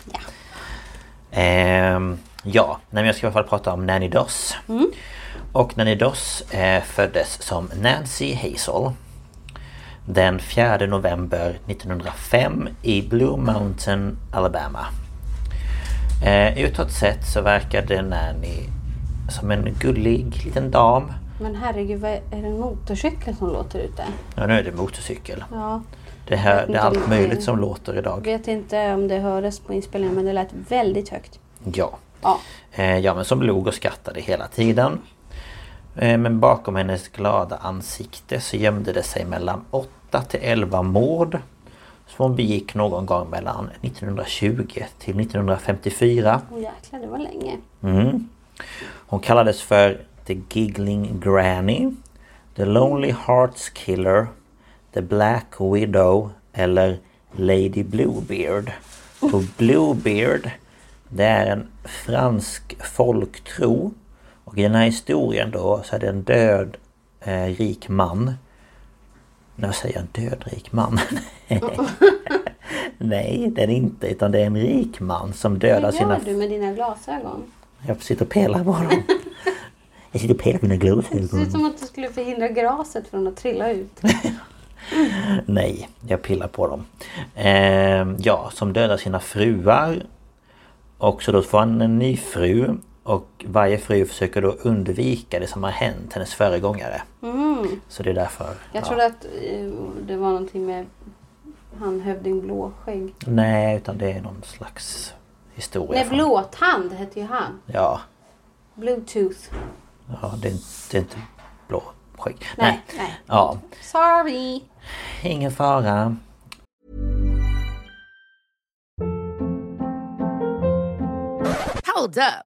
Speaker 3: Ehm, ja, nej, men jag ska i alla fall prata om Nanny Doss. Och Nanny Doss eh, föddes som Nancy Hazel den 4 november 1905 i Blue Mountain, Alabama. Eh, utåt sett så verkade Nanny Som en gullig liten dam.
Speaker 2: Men herregud, vad är är det en motorcykel som låter ute?
Speaker 3: Ja, nu är det motorcykel.
Speaker 2: Ja.
Speaker 3: Det, här, det är allt
Speaker 2: Inte riktigt.
Speaker 3: möjligt som låter idag.
Speaker 2: Vet inte om det hördes på inspelningen men det lät väldigt högt.
Speaker 3: Ja.
Speaker 2: Ja.
Speaker 3: Eh, ja, men som log och skrattade hela tiden. Eh, men bakom hennes glada ansikte så gömde det sig mellan 8 till 11 mord. Som hon begick någon gång mellan 1920 till 1954.
Speaker 2: Åh jäklar, det var länge.
Speaker 3: Hon kallades för The Giggling Granny, The Lonely Hearts Killer, The Black Widow eller Lady Bluebeard. Och Bluebeard det är en fransk folktro. Och i den här historien då så är det en död eh, rik man. Nu säger jag en död rik man. Nej, det är det inte. Utan det är en rik man som dödar
Speaker 2: Vad
Speaker 3: sina
Speaker 2: gör du med dina glasögon?
Speaker 3: jag sitter och pelar på dem. Jag sitter och pelar på mina
Speaker 2: Det ser ut
Speaker 3: glasögon.
Speaker 2: som att du skulle förhindra graset från att trilla ut.
Speaker 3: Nej, jag pillar på dem. Ehm, ja, som dödar sina fruar. Och så då får han en ny fru. Och varje fru försöker då undvika det som har hänt hennes föregångare. Så det är därför.
Speaker 2: Mm. Jag trodde att eh, det var någonting med han Hövding Blåskägg.
Speaker 3: Nej, utan det är någon slags historia.
Speaker 2: Nej,
Speaker 3: från-
Speaker 2: Blåtand hette ju han.
Speaker 3: Ja,
Speaker 2: Bluetooth.
Speaker 3: ja det, är, inte- det är inte blå skägg.
Speaker 2: Nej, nej.
Speaker 3: Ja,
Speaker 2: Sorry!
Speaker 3: ingen fara.
Speaker 1: Hold up.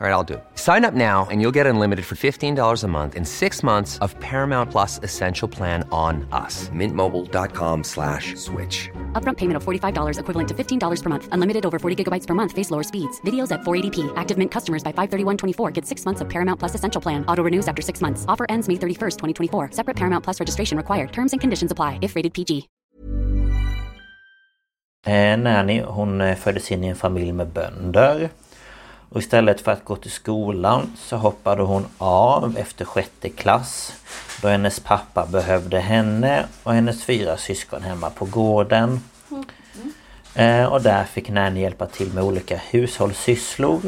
Speaker 4: All right, I'll do it. Sign up now and you'll get unlimited for $15 a month in six months of Paramount Plus Essential Plan on us. Mintmobile.com slash switch.
Speaker 5: Upfront payment of $45 equivalent to $15 per month. Unlimited over 40 gigabytes per month. Face lower speeds. Videos at 480p. Active Mint customers by 531.24 get six months of Paramount Plus Essential Plan. Auto renews after six months. Offer ends May 31st, 2024. Separate Paramount Plus registration required. Terms and conditions apply if rated PG.
Speaker 3: Eh, Nanny hon eh, föddes in i en familj med bönder. Och istället för att gå till skolan så hoppade hon av efter sjätte klass. Då hennes pappa behövde henne och hennes fyra syskon hemma på gården. Eh, och där fick Nanny hjälpa till med olika hushållssysslor.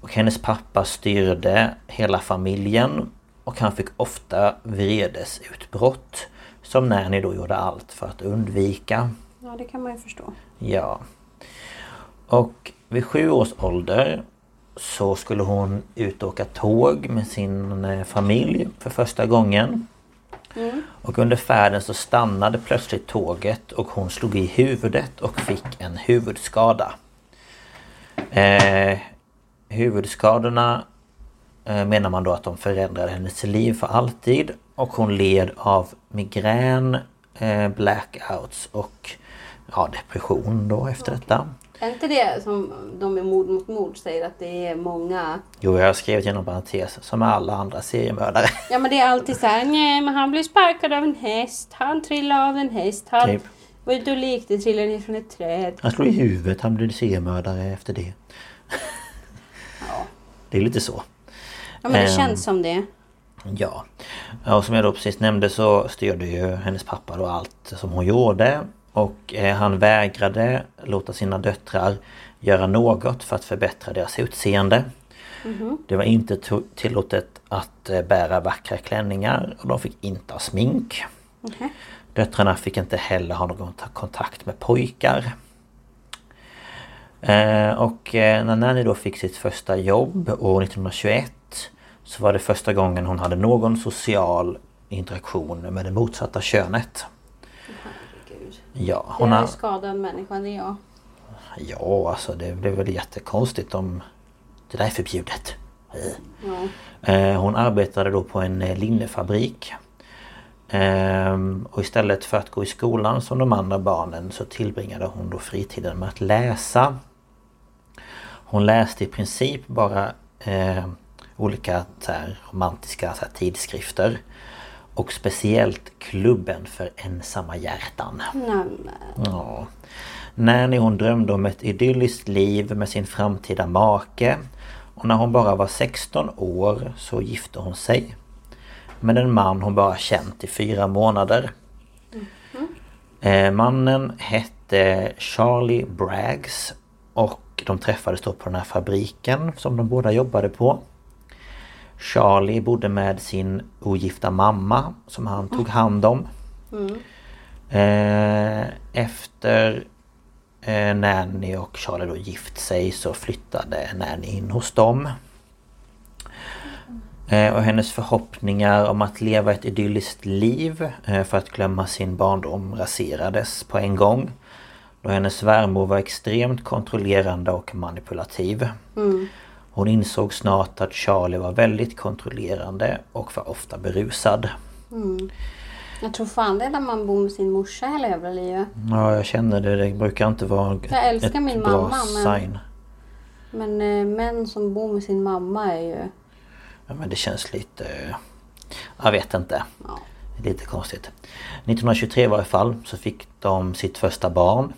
Speaker 3: Och hennes pappa styrde hela familjen. Och han fick ofta vredesutbrott. Som Nanny då gjorde allt för att undvika.
Speaker 2: Ja, det kan man ju förstå.
Speaker 3: Ja. Och vid sju års ålder så skulle hon ut och åka tåg med sin eh, familj för första gången. Och under färden så stannade plötsligt tåget och hon slog i huvudet och fick en huvudskada. Eh, huvudskadorna eh, menar man då att de förändrade hennes liv för alltid. Och hon led av migrän, eh, blackouts och ja, depression då efter detta.
Speaker 2: Är inte det som de i Mord mot mord säger att det är många...
Speaker 3: Jo, jag har skrivit genom parentes som alla andra seriemördare.
Speaker 2: Ja men det är alltid så här, nej men han blev sparkad av en häst, han trillade av en häst, han
Speaker 3: Typ.
Speaker 2: var ute och lekte, trillade ner från ett träd.
Speaker 3: Han slog i huvudet, han blev seriemördare efter det. Det är lite så.
Speaker 2: Ja men det
Speaker 3: Ehm.
Speaker 2: känns som det.
Speaker 3: Ja. Ja, Och som jag då precis nämnde så styrde ju hennes pappa då allt som hon gjorde. Och eh, han vägrade låta sina döttrar göra något för att förbättra deras utseende. Det var inte to- tillåtet att eh, bära vackra klänningar och de fick inte ha smink. Döttrarna fick inte heller ha någon ta- kontakt med pojkar. Eh, och eh, när Nanny då fick sitt första jobb år 1921 så var det första gången hon hade någon social interaktion med det motsatta könet.
Speaker 2: Herregud.
Speaker 3: Ja,
Speaker 2: Det
Speaker 3: hon
Speaker 2: är
Speaker 3: har,
Speaker 2: skadad människa, det är jag.
Speaker 3: ja alltså det blev väl jättekonstigt om... Det där är förbjudet.
Speaker 2: Ja.
Speaker 3: Eh, Hon arbetade då på en eh, linnefabrik. Ehm, Och istället för att gå i skolan som de andra barnen så tillbringade hon då fritiden med att läsa. Hon läste i princip bara eh, olika så här, romantiska så här, tidskrifter. Och speciellt klubben för ensamma hjärtan. Ja. Nanny hon drömde om ett idylliskt liv med sin framtida make. Och när hon bara var 16 år så gifte hon sig. Med en man hon bara känt i fyra månader. Eh, mannen hette Charlie Braggs. Och de träffades då på den här fabriken som de båda jobbade på. Charlie bodde med sin ogifta mamma som han tog hand om. Eh, efter eh, Nanny och Charlie då gift sig så flyttade Nanny in hos dem. Eh, och hennes förhoppningar om att leva ett idylliskt liv eh, för att glömma sin barndom raserades på en gång. Då hennes svärmor var extremt kontrollerande och manipulativ. Hon insåg snart att Charlie var väldigt kontrollerande och var ofta berusad.
Speaker 2: Jag tror fan det är när man bor med sin morsa hela jävla livet.
Speaker 3: Ja, jag känner det. Det brukar inte vara ett-
Speaker 2: Jag älskar
Speaker 3: ett
Speaker 2: min
Speaker 3: bra
Speaker 2: mamma, men-
Speaker 3: sign.
Speaker 2: Men eh, män som bor med sin mamma är ju...
Speaker 3: Ja, men det känns lite... Jag vet inte. Lite konstigt. 1923 i varje fall så fick de sitt första barn.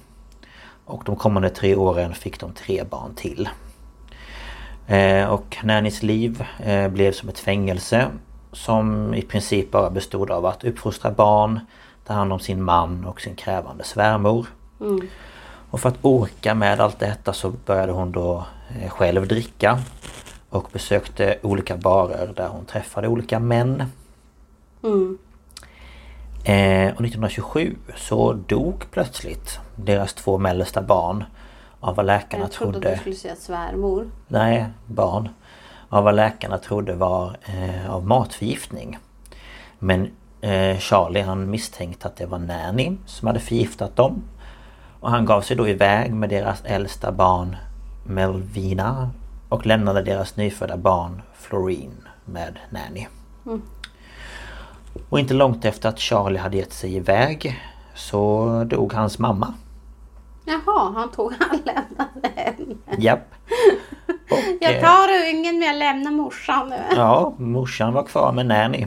Speaker 3: Och de kommande tre åren fick de tre barn till. Eh, och Nannys liv eh, blev som ett fängelse. Som i princip bara bestod av att uppfostra barn, ta hand om sin man och sin krävande svärmor.
Speaker 2: Mm.
Speaker 3: Och för att orka med allt detta så började hon då eh, själv dricka. Och besökte olika barer där hon träffade olika män.
Speaker 2: Mm.
Speaker 3: Eh, och 1927 så dog plötsligt deras två mellersta barn av vad läkarna
Speaker 2: Jag trodde att du skulle säga svärmor.
Speaker 3: Nej, barn. Av vad läkarna trodde var eh, av matförgiftning. Men eh, Charlie han misstänkte att det var Nanny som hade förgiftat dem. Och han gav sig då iväg med deras äldsta barn Melvina och lämnade deras nyfödda barn Florine med Nanny.
Speaker 2: Mm.
Speaker 3: Och inte långt efter att Charlie hade gett sig iväg så dog hans mamma.
Speaker 2: Jaha, han tog han lämnade henne.
Speaker 3: Japp. Och,
Speaker 2: Jag
Speaker 3: eh,
Speaker 2: tar ungen men jag lämnar morsan nu.
Speaker 3: Ja, morsan var kvar med Nanny.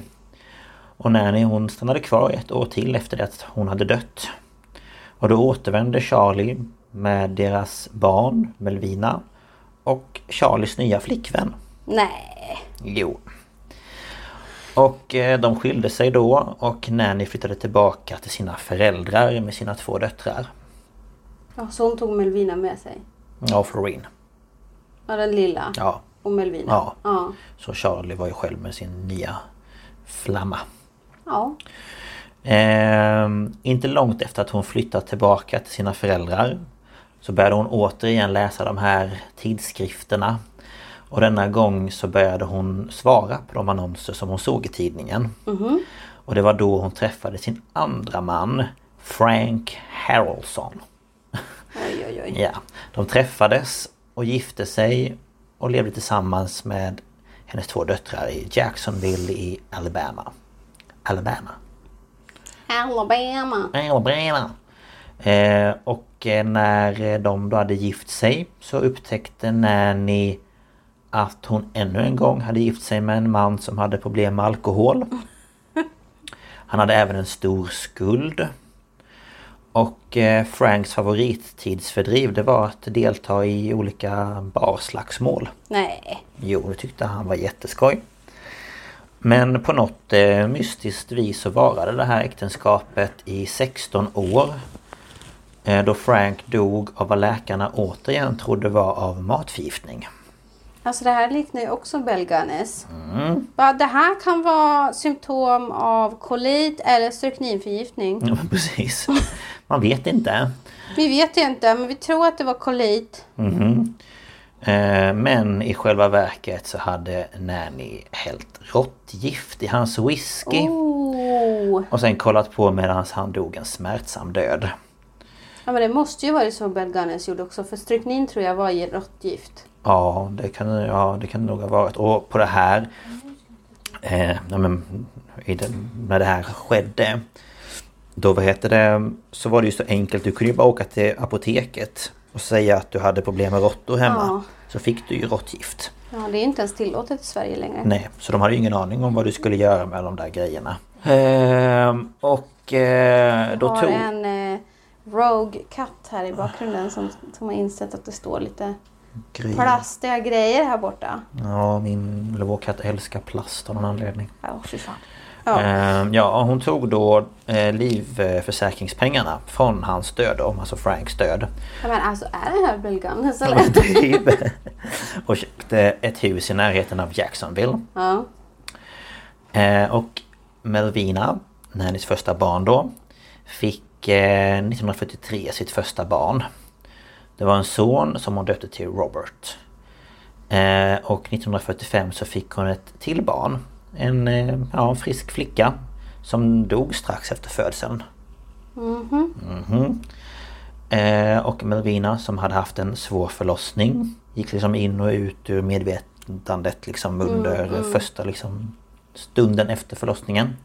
Speaker 3: Och Nanny hon stannade kvar ett år till efter det att hon hade dött. Och då återvände Charlie med deras barn Melvina och Charlies nya flickvän.
Speaker 2: Nej.
Speaker 3: Jo. Och eh, de skilde sig då och Nanny flyttade tillbaka till sina föräldrar med sina två döttrar.
Speaker 2: Ja, så hon tog Melvina med sig.
Speaker 3: Ja, och Florine.
Speaker 2: Ja, den lilla.
Speaker 3: Ja.
Speaker 2: Och Melvina.
Speaker 3: Ja.
Speaker 2: Ja.
Speaker 3: Så Charlie var ju själv med sin nya flamma.
Speaker 2: ja.
Speaker 3: Ehm, inte långt efter att hon flyttat tillbaka till sina föräldrar så började hon återigen läsa de här tidskrifterna. Och denna gång så började hon svara på de annonser som hon såg i tidningen. Och det var då hon träffade sin andra man Frank Harrelson.
Speaker 2: Oj, oj, oj.
Speaker 3: Ja, de träffades och gifte sig och levde tillsammans med hennes två döttrar i Jacksonville i Alabama. Alabama.
Speaker 2: Alabama.
Speaker 3: Alabama. Eh, och eh, när de då hade gift sig så upptäckte Nanny att hon ännu en gång hade gift sig med en man som hade problem med alkohol. Han hade även en stor skuld. Och eh, Franks favorittidsfördriv det var att delta i olika barslagsmål.
Speaker 2: Nej.
Speaker 3: Jo, det tyckte han var jätteskoj. Men på något eh, mystiskt vis så varade det här äktenskapet i 16 år. Eh, då Frank dog av vad läkarna återigen trodde var av matförgiftning.
Speaker 2: Alltså det här liknar ju också belganes. Va, Det här kan vara symptom av kolit eller strykninförgiftning.
Speaker 3: Ja, men precis. Man vet inte.
Speaker 2: Vi vet ju inte, men vi tror att det var kolit.
Speaker 3: Eh, men i själva verket så hade Nanny hällt råttgift i hans whisky.
Speaker 2: Oh.
Speaker 3: Och sen kollat på medan han dog en smärtsam död.
Speaker 2: Ja, men det måste ju varit så belganes gjorde också, för stryknin tror jag var i råttgift.
Speaker 3: Ja, det kan, ja, det kan det nog ha varit. Och på det här... Eh, ja, men, i det, när det här skedde... Då, vad heter det, så var det ju så enkelt. Du kunde ju bara åka till apoteket och säga att du hade problem med råttor hemma
Speaker 2: Ja.
Speaker 3: så fick du ju råttgift.
Speaker 2: Ja, det är inte ens tillåtet i Sverige längre.
Speaker 3: Nej, så de hade ju ingen aning om vad du skulle göra med de där grejerna. Ehm, och eh,
Speaker 2: Jag
Speaker 3: då
Speaker 2: har
Speaker 3: tog...
Speaker 2: en eh, Rogue katt här i bakgrunden som, som har insett att det står lite
Speaker 3: Gry.
Speaker 2: plastiga grejer här borta.
Speaker 3: Ja, min eller vår katt älskar plast av någon anledning.
Speaker 2: Ja, fy fan.
Speaker 3: Ja,
Speaker 2: Ja.
Speaker 3: Ehm, ja hon tog då eh, livförsäkringspengarna från hans död, då, alltså Franks död.
Speaker 2: Ja, Men alltså är det här bullgum? Så lätt.
Speaker 3: Typ. och köpte ett hus i närheten av Jacksonville.
Speaker 2: Ja.
Speaker 3: Eh, och Melvina, Nannys första barn då, fick eh, 1943 sitt första barn. Det var en son som hon döpte till Robert. Eh, och 1945 så fick hon ett till barn. En eh, ja, frisk flicka som dog strax efter födseln. Mhm. Eh, och Melvina som hade haft en svår förlossning gick liksom in och ut ur medvetandet liksom under första liksom, stunden efter förlossningen.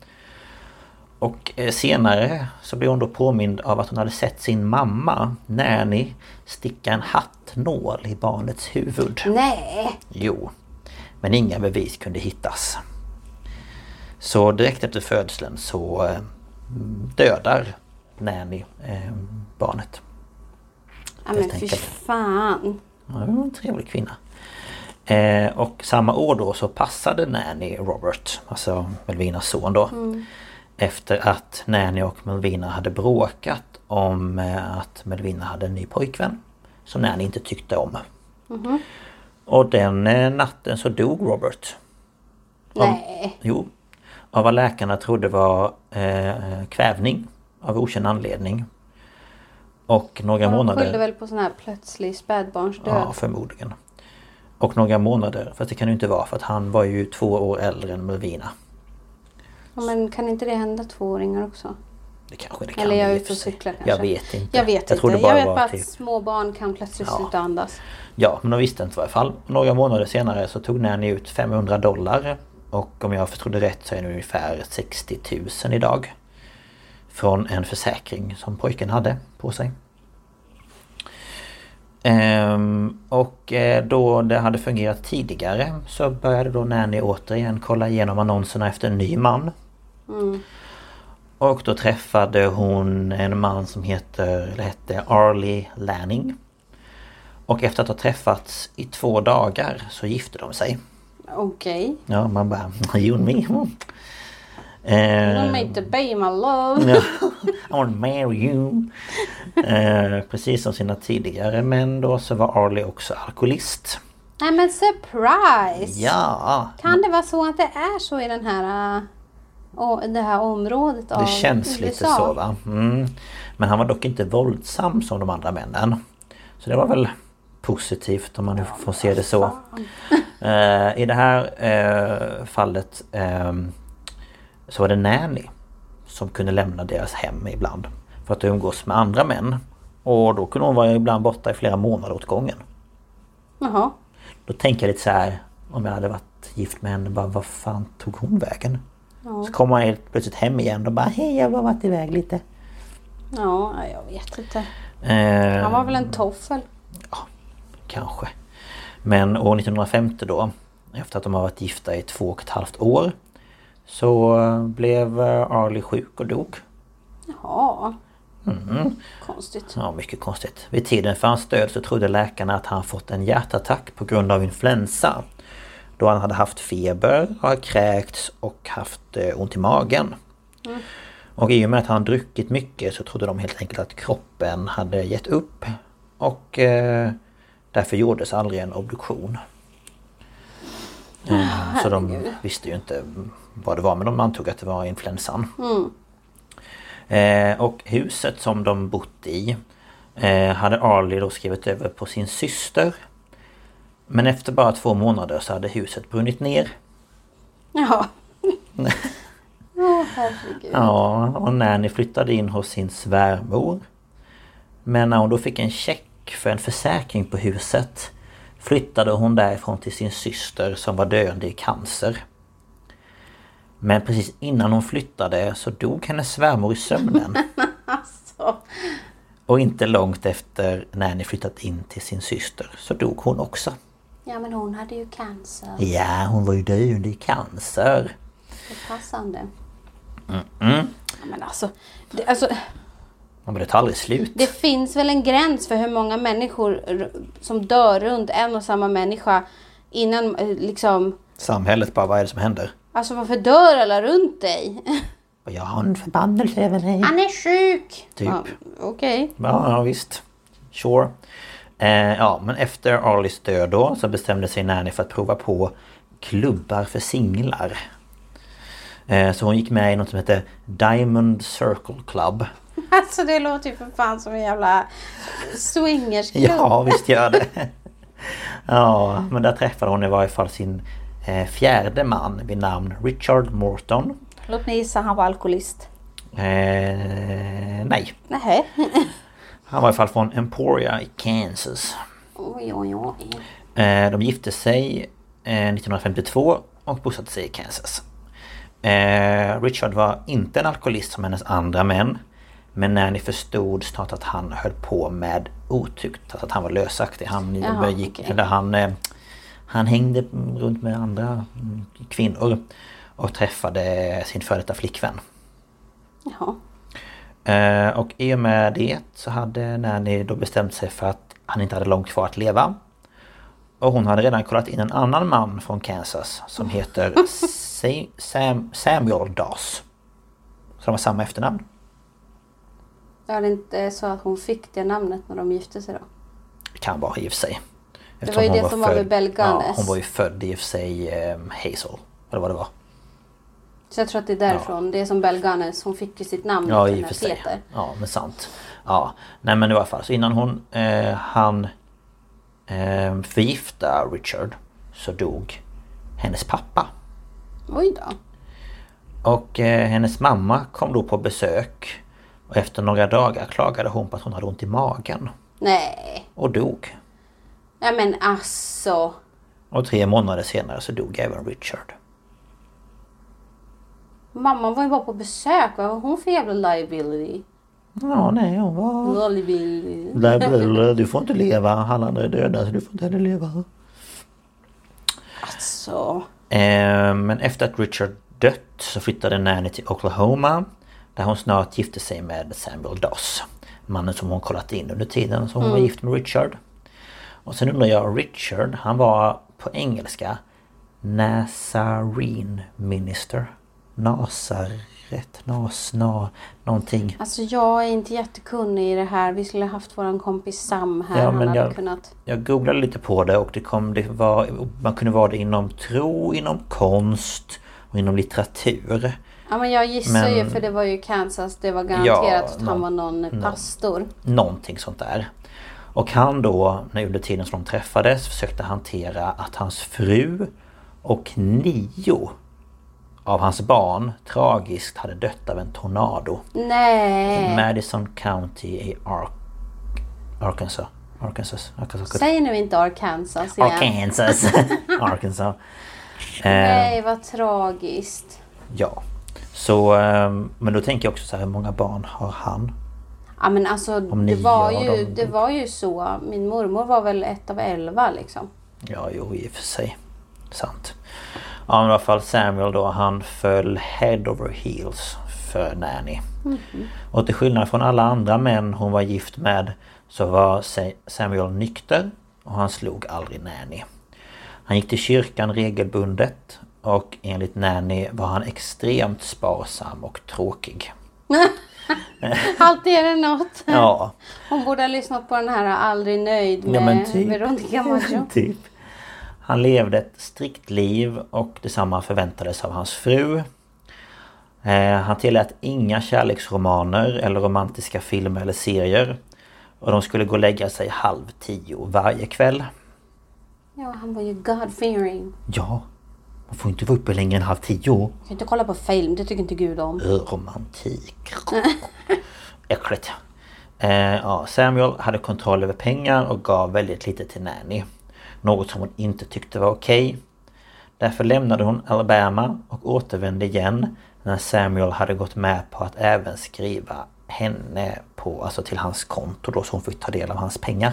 Speaker 3: Och eh, senare så blev hon då påmind av att hon hade sett sin mamma, Nanny, sticka en hattnål i barnets huvud.
Speaker 2: Nej!
Speaker 3: Jo. Men inga bevis kunde hittas. Så direkt efter födseln så eh, dödar Nanny eh, barnet.
Speaker 2: Ja, men
Speaker 3: Helt
Speaker 2: fy
Speaker 3: enkelt.
Speaker 2: fan.
Speaker 3: Ja, det var en trevlig kvinna. Eh, och samma år då så passade Nanny Robert, alltså Melvinas son då. Efter att Nanny och Melvina hade bråkat om eh, att Melvina hade en ny pojkvän. Som Nanny inte tyckte om. Och den eh, natten så dog Robert. Om-
Speaker 2: Nej.
Speaker 3: Jo. Av vad läkarna trodde var eh, kvävning av okänd anledning. Och några
Speaker 2: De
Speaker 3: månader...
Speaker 2: skyllde väl på sån här plötslig spädbarnsdöd.
Speaker 3: Ja, förmodligen. Och några månader, fast det kan det ju inte vara för att han var ju två år äldre än Melvina.
Speaker 2: Ja, men kan inte det hända tvååringar också?
Speaker 3: Det kanske det kan
Speaker 2: Eller jag
Speaker 3: i
Speaker 2: är
Speaker 3: och för
Speaker 2: ute och
Speaker 3: sig.
Speaker 2: cyklar kanske.
Speaker 3: Jag vet inte.
Speaker 2: Jag vet
Speaker 3: tror
Speaker 2: inte.
Speaker 3: det bara
Speaker 2: jag vet
Speaker 3: var
Speaker 2: bara att
Speaker 3: typ-
Speaker 2: små barn kan plötsligt
Speaker 3: Ja.
Speaker 2: sluta andas.
Speaker 3: Ja, men de visste inte i varje fall. Några månader senare så tog Nanny ut 500 dollar. Och om jag förstod det rätt så är det ungefär 60 000 idag. Från en försäkring som pojken hade på sig. Ehm, och eh, då det hade fungerat tidigare så började då Nanny återigen kolla igenom annonserna efter en ny man. Och då träffade hon en man som heter, eller hette Arlie Lanning. Och efter att ha träffats i två dagar så gifte de sig.
Speaker 2: Okej.
Speaker 3: Ja, man bara you and me. Mm. Eh,
Speaker 2: Don't make the baby my love.
Speaker 3: ja. I want to marry you. Eh, precis som sina tidigare män då så var Arlie också alkoholist.
Speaker 2: Nej men surprise!
Speaker 3: Ja!
Speaker 2: Kan det vara så att det är så i den här, äh, å- det här området av
Speaker 3: Det känns
Speaker 2: USA?
Speaker 3: lite så va. Mm. Men han var dock inte våldsam som de andra männen. Så det var väl positivt om man nu får se det så. Eh, I det här eh, fallet ehm, så var det Nanny som kunde lämna deras hem ibland. För att umgås med andra män. Och då kunde hon vara ibland borta i flera månader åt gången.
Speaker 2: Jaha.
Speaker 3: Då tänker jag lite så här Om jag hade varit gift med henne, bara, vad fan tog hon vägen? Så kommer man helt plötsligt hem igen och bara hej jag har bara varit iväg lite.
Speaker 2: Ja, jag vet inte.
Speaker 3: Eh,
Speaker 2: Han var väl en toffel?
Speaker 3: Kanske. Men år 1950 då, efter att de har varit gifta i två och ett halvt år, så eh, blev eh, Arlie sjuk och dog.
Speaker 2: Ja. Mm. Konstigt.
Speaker 3: Ja, mycket konstigt. Vid tiden för hans död så trodde läkarna att han fått en hjärtattack på grund av influensa. Då han hade haft feber, har kräkts och haft eh, ont i magen. Och i och med att han druckit mycket så trodde de helt enkelt att kroppen hade gett upp. Och eh, därför gjordes aldrig en obduktion. Eh, så de visste ju inte vad det var men de antog att det var influensan. Eh, och huset som de bott i eh, hade Arlie då skrivit över på sin syster. Men efter bara två månader så hade huset brunnit ner.
Speaker 2: Ja. Åh herregud.
Speaker 3: Ja, och Nanny flyttade in hos sin svärmor. Men när hon då fick en check för en försäkring på huset flyttade hon därifrån till sin syster som var döende i cancer. Men precis innan hon flyttade så dog hennes svärmor i sömnen.
Speaker 2: Alltså.
Speaker 3: Och inte långt efter när ni flyttat in till sin syster så dog hon också.
Speaker 2: Ja, men hon hade ju cancer.
Speaker 3: Ja, hon var ju döende i cancer.
Speaker 2: Det passande. Ja, men alltså, det, alltså,
Speaker 3: Ja, Men det tar aldrig slut.
Speaker 2: det finns väl en gräns för hur många människor r- som dör runt en och samma människa innan eh, liksom...
Speaker 3: Samhället bara, vad är det som händer?
Speaker 2: Alltså varför dör alla runt dig?
Speaker 3: Och jag har en förbannelse över dig.
Speaker 2: Han är sjuk!
Speaker 3: Typ.
Speaker 2: Ja, Okej.
Speaker 3: Ja, ja visst. Sure. Eh, ja, men efter Arlies död då så bestämde sig Nanny för att prova på klubbar för singlar. Eh, så hon gick med i något som hette Diamond Circle Club.
Speaker 2: Alltså det låter ju för fan som en jävla swingersklubb.
Speaker 3: Ja, visst gör det. ja, men där träffade hon i varje fall sin eh, fjärde man vid namn Richard Morton.
Speaker 2: Låt mig gissa, han var alkoholist.
Speaker 3: Eh, nej,
Speaker 2: Nähä.
Speaker 3: han var i alla fall från Emporia i Kansas.
Speaker 2: Oj, oj, oj.
Speaker 3: Eh, De gifte sig eh, 1952 och bosatte sig i Kansas. Eh, Richard var inte en alkoholist som hennes andra män. Men Nanny förstod snart att han höll på med otukt, alltså att han var lösaktig. Han,
Speaker 2: Jaha,
Speaker 3: begick,
Speaker 2: okej.
Speaker 3: eller han, eh, han hängde runt med andra mm, kvinnor och träffade sin före detta flickvän.
Speaker 2: Jaha.
Speaker 3: Eh, Och i och med det så hade Nanny då bestämt sig för att han inte hade långt kvar att leva. Och hon hade redan kollat in en annan man från Kansas som heter Sa- Sam, Samuel Das. Så de har samma efternamn.
Speaker 2: Var det inte så att hon fick det namnet när de gifte sig då?
Speaker 3: Det kan vara i och för sig.
Speaker 2: var ju
Speaker 3: hon
Speaker 2: det som var med
Speaker 3: född-
Speaker 2: Belganes.
Speaker 3: Ja, hon var ju född i och för sig eh, Hazel. Eller vad det var.
Speaker 2: Så jag tror att det är därifrån. Det är som Belganes, hon fick ju sitt namn
Speaker 3: Ja,
Speaker 2: efter
Speaker 3: i och
Speaker 2: den
Speaker 3: för
Speaker 2: här
Speaker 3: sig.
Speaker 2: Peter.
Speaker 3: Ja, men sant. Ja, nej men i alla fall. Så innan hon eh, han eh, förgifta Richard så dog hennes pappa.
Speaker 2: Oj då.
Speaker 3: Och eh, hennes mamma kom då på besök. Och efter några dagar klagade hon på att hon hade ont i magen.
Speaker 2: Nej.
Speaker 3: Och dog.
Speaker 2: Ja men alltså.
Speaker 3: Och tre månader senare så dog även Richard.
Speaker 2: Mamman var ju bara på besök. Vad var hon för jävla liability?
Speaker 3: Ja, nej hon var...
Speaker 2: Liability.
Speaker 3: Bla, bla, bla, Du får inte leva, alla andra är döda så du får inte heller leva.
Speaker 2: Alltså.
Speaker 3: Eh, Men efter att Richard dött så flyttade Nanny till Oklahoma Där hon snart gifte sig med Samuel Doss Mannen som hon kollat in under tiden som hon
Speaker 2: Mm.
Speaker 3: var gift med Richard Och sen undrar jag, Richard han var på engelska Nazarene Minister Nasaret, Nasna, någonting
Speaker 2: Alltså jag är inte jättekunnig i det här. Vi skulle ha haft våran kompis Sam här.
Speaker 3: Ja,
Speaker 2: Han
Speaker 3: men
Speaker 2: hade
Speaker 3: jag-
Speaker 2: kunnat.
Speaker 3: Jag googlade lite på det och det kom, det var, man kunde vara det inom tro, inom konst och inom litteratur
Speaker 2: Ja men jag gissar
Speaker 3: Men-
Speaker 2: ju för det var ju Kansas. Det var garanterat
Speaker 3: Ja,
Speaker 2: att han
Speaker 3: nå-
Speaker 2: var någon pastor.
Speaker 3: Någonting sånt där. Och han då, när under tiden som de träffades, försökte hantera att hans fru och nio av hans barn tragiskt hade dött av en tornado.
Speaker 2: Nej.
Speaker 3: I Madison County i Ar- Arkansas. Arkansas. Arkansas.
Speaker 2: Säg nu inte Arkansas igen.
Speaker 3: Arkansas. Arkansas. Eh,
Speaker 2: Nej vad tragiskt.
Speaker 3: ja. Så, ehm, men då tänker jag också så här, hur många barn har han?
Speaker 2: Ja men alltså det
Speaker 3: nio
Speaker 2: var,
Speaker 3: av
Speaker 2: ju,
Speaker 3: dem
Speaker 2: det
Speaker 3: dog.
Speaker 2: var ju så. Min mormor var väl ett av elva liksom.
Speaker 3: Ja, jo i och för sig. Sant. Ja, men i alla fall Samuel då, han föll head over heels för Nanny. Och till skillnad från alla andra män hon var gift med så var Sa- Samuel nykter och han slog aldrig Nanny. Han gick till kyrkan regelbundet och enligt Nanny var han extremt sparsam och tråkig.
Speaker 2: Alltid är det något.
Speaker 3: Ja,
Speaker 2: Hon borde ha lyssnat på den här Aldrig nöjd med
Speaker 3: Ja, men typ.
Speaker 2: Veronica Maggio.
Speaker 3: typ. Han levde ett strikt liv och detsamma förväntades av hans fru. Eh, han tillät inga kärleksromaner eller romantiska filmer eller serier. Och de skulle gå och lägga sig halv tio varje kväll.
Speaker 2: Ja, han var ju God fearing.
Speaker 3: Ja, man får inte vara uppe längre än halv tio.
Speaker 2: Jag kan inte kolla på film, det tycker inte Gud om.
Speaker 3: Ö, Eh, Romantik. Äckligt. Eh, ja, Samuel hade kontroll över pengar och gav väldigt lite till Nanny. Något som hon inte tyckte var okej. Därför lämnade hon Alabama och återvände igen när Samuel hade gått med på att även skriva henne på, alltså till hans konto då så hon fick ta del av hans pengar.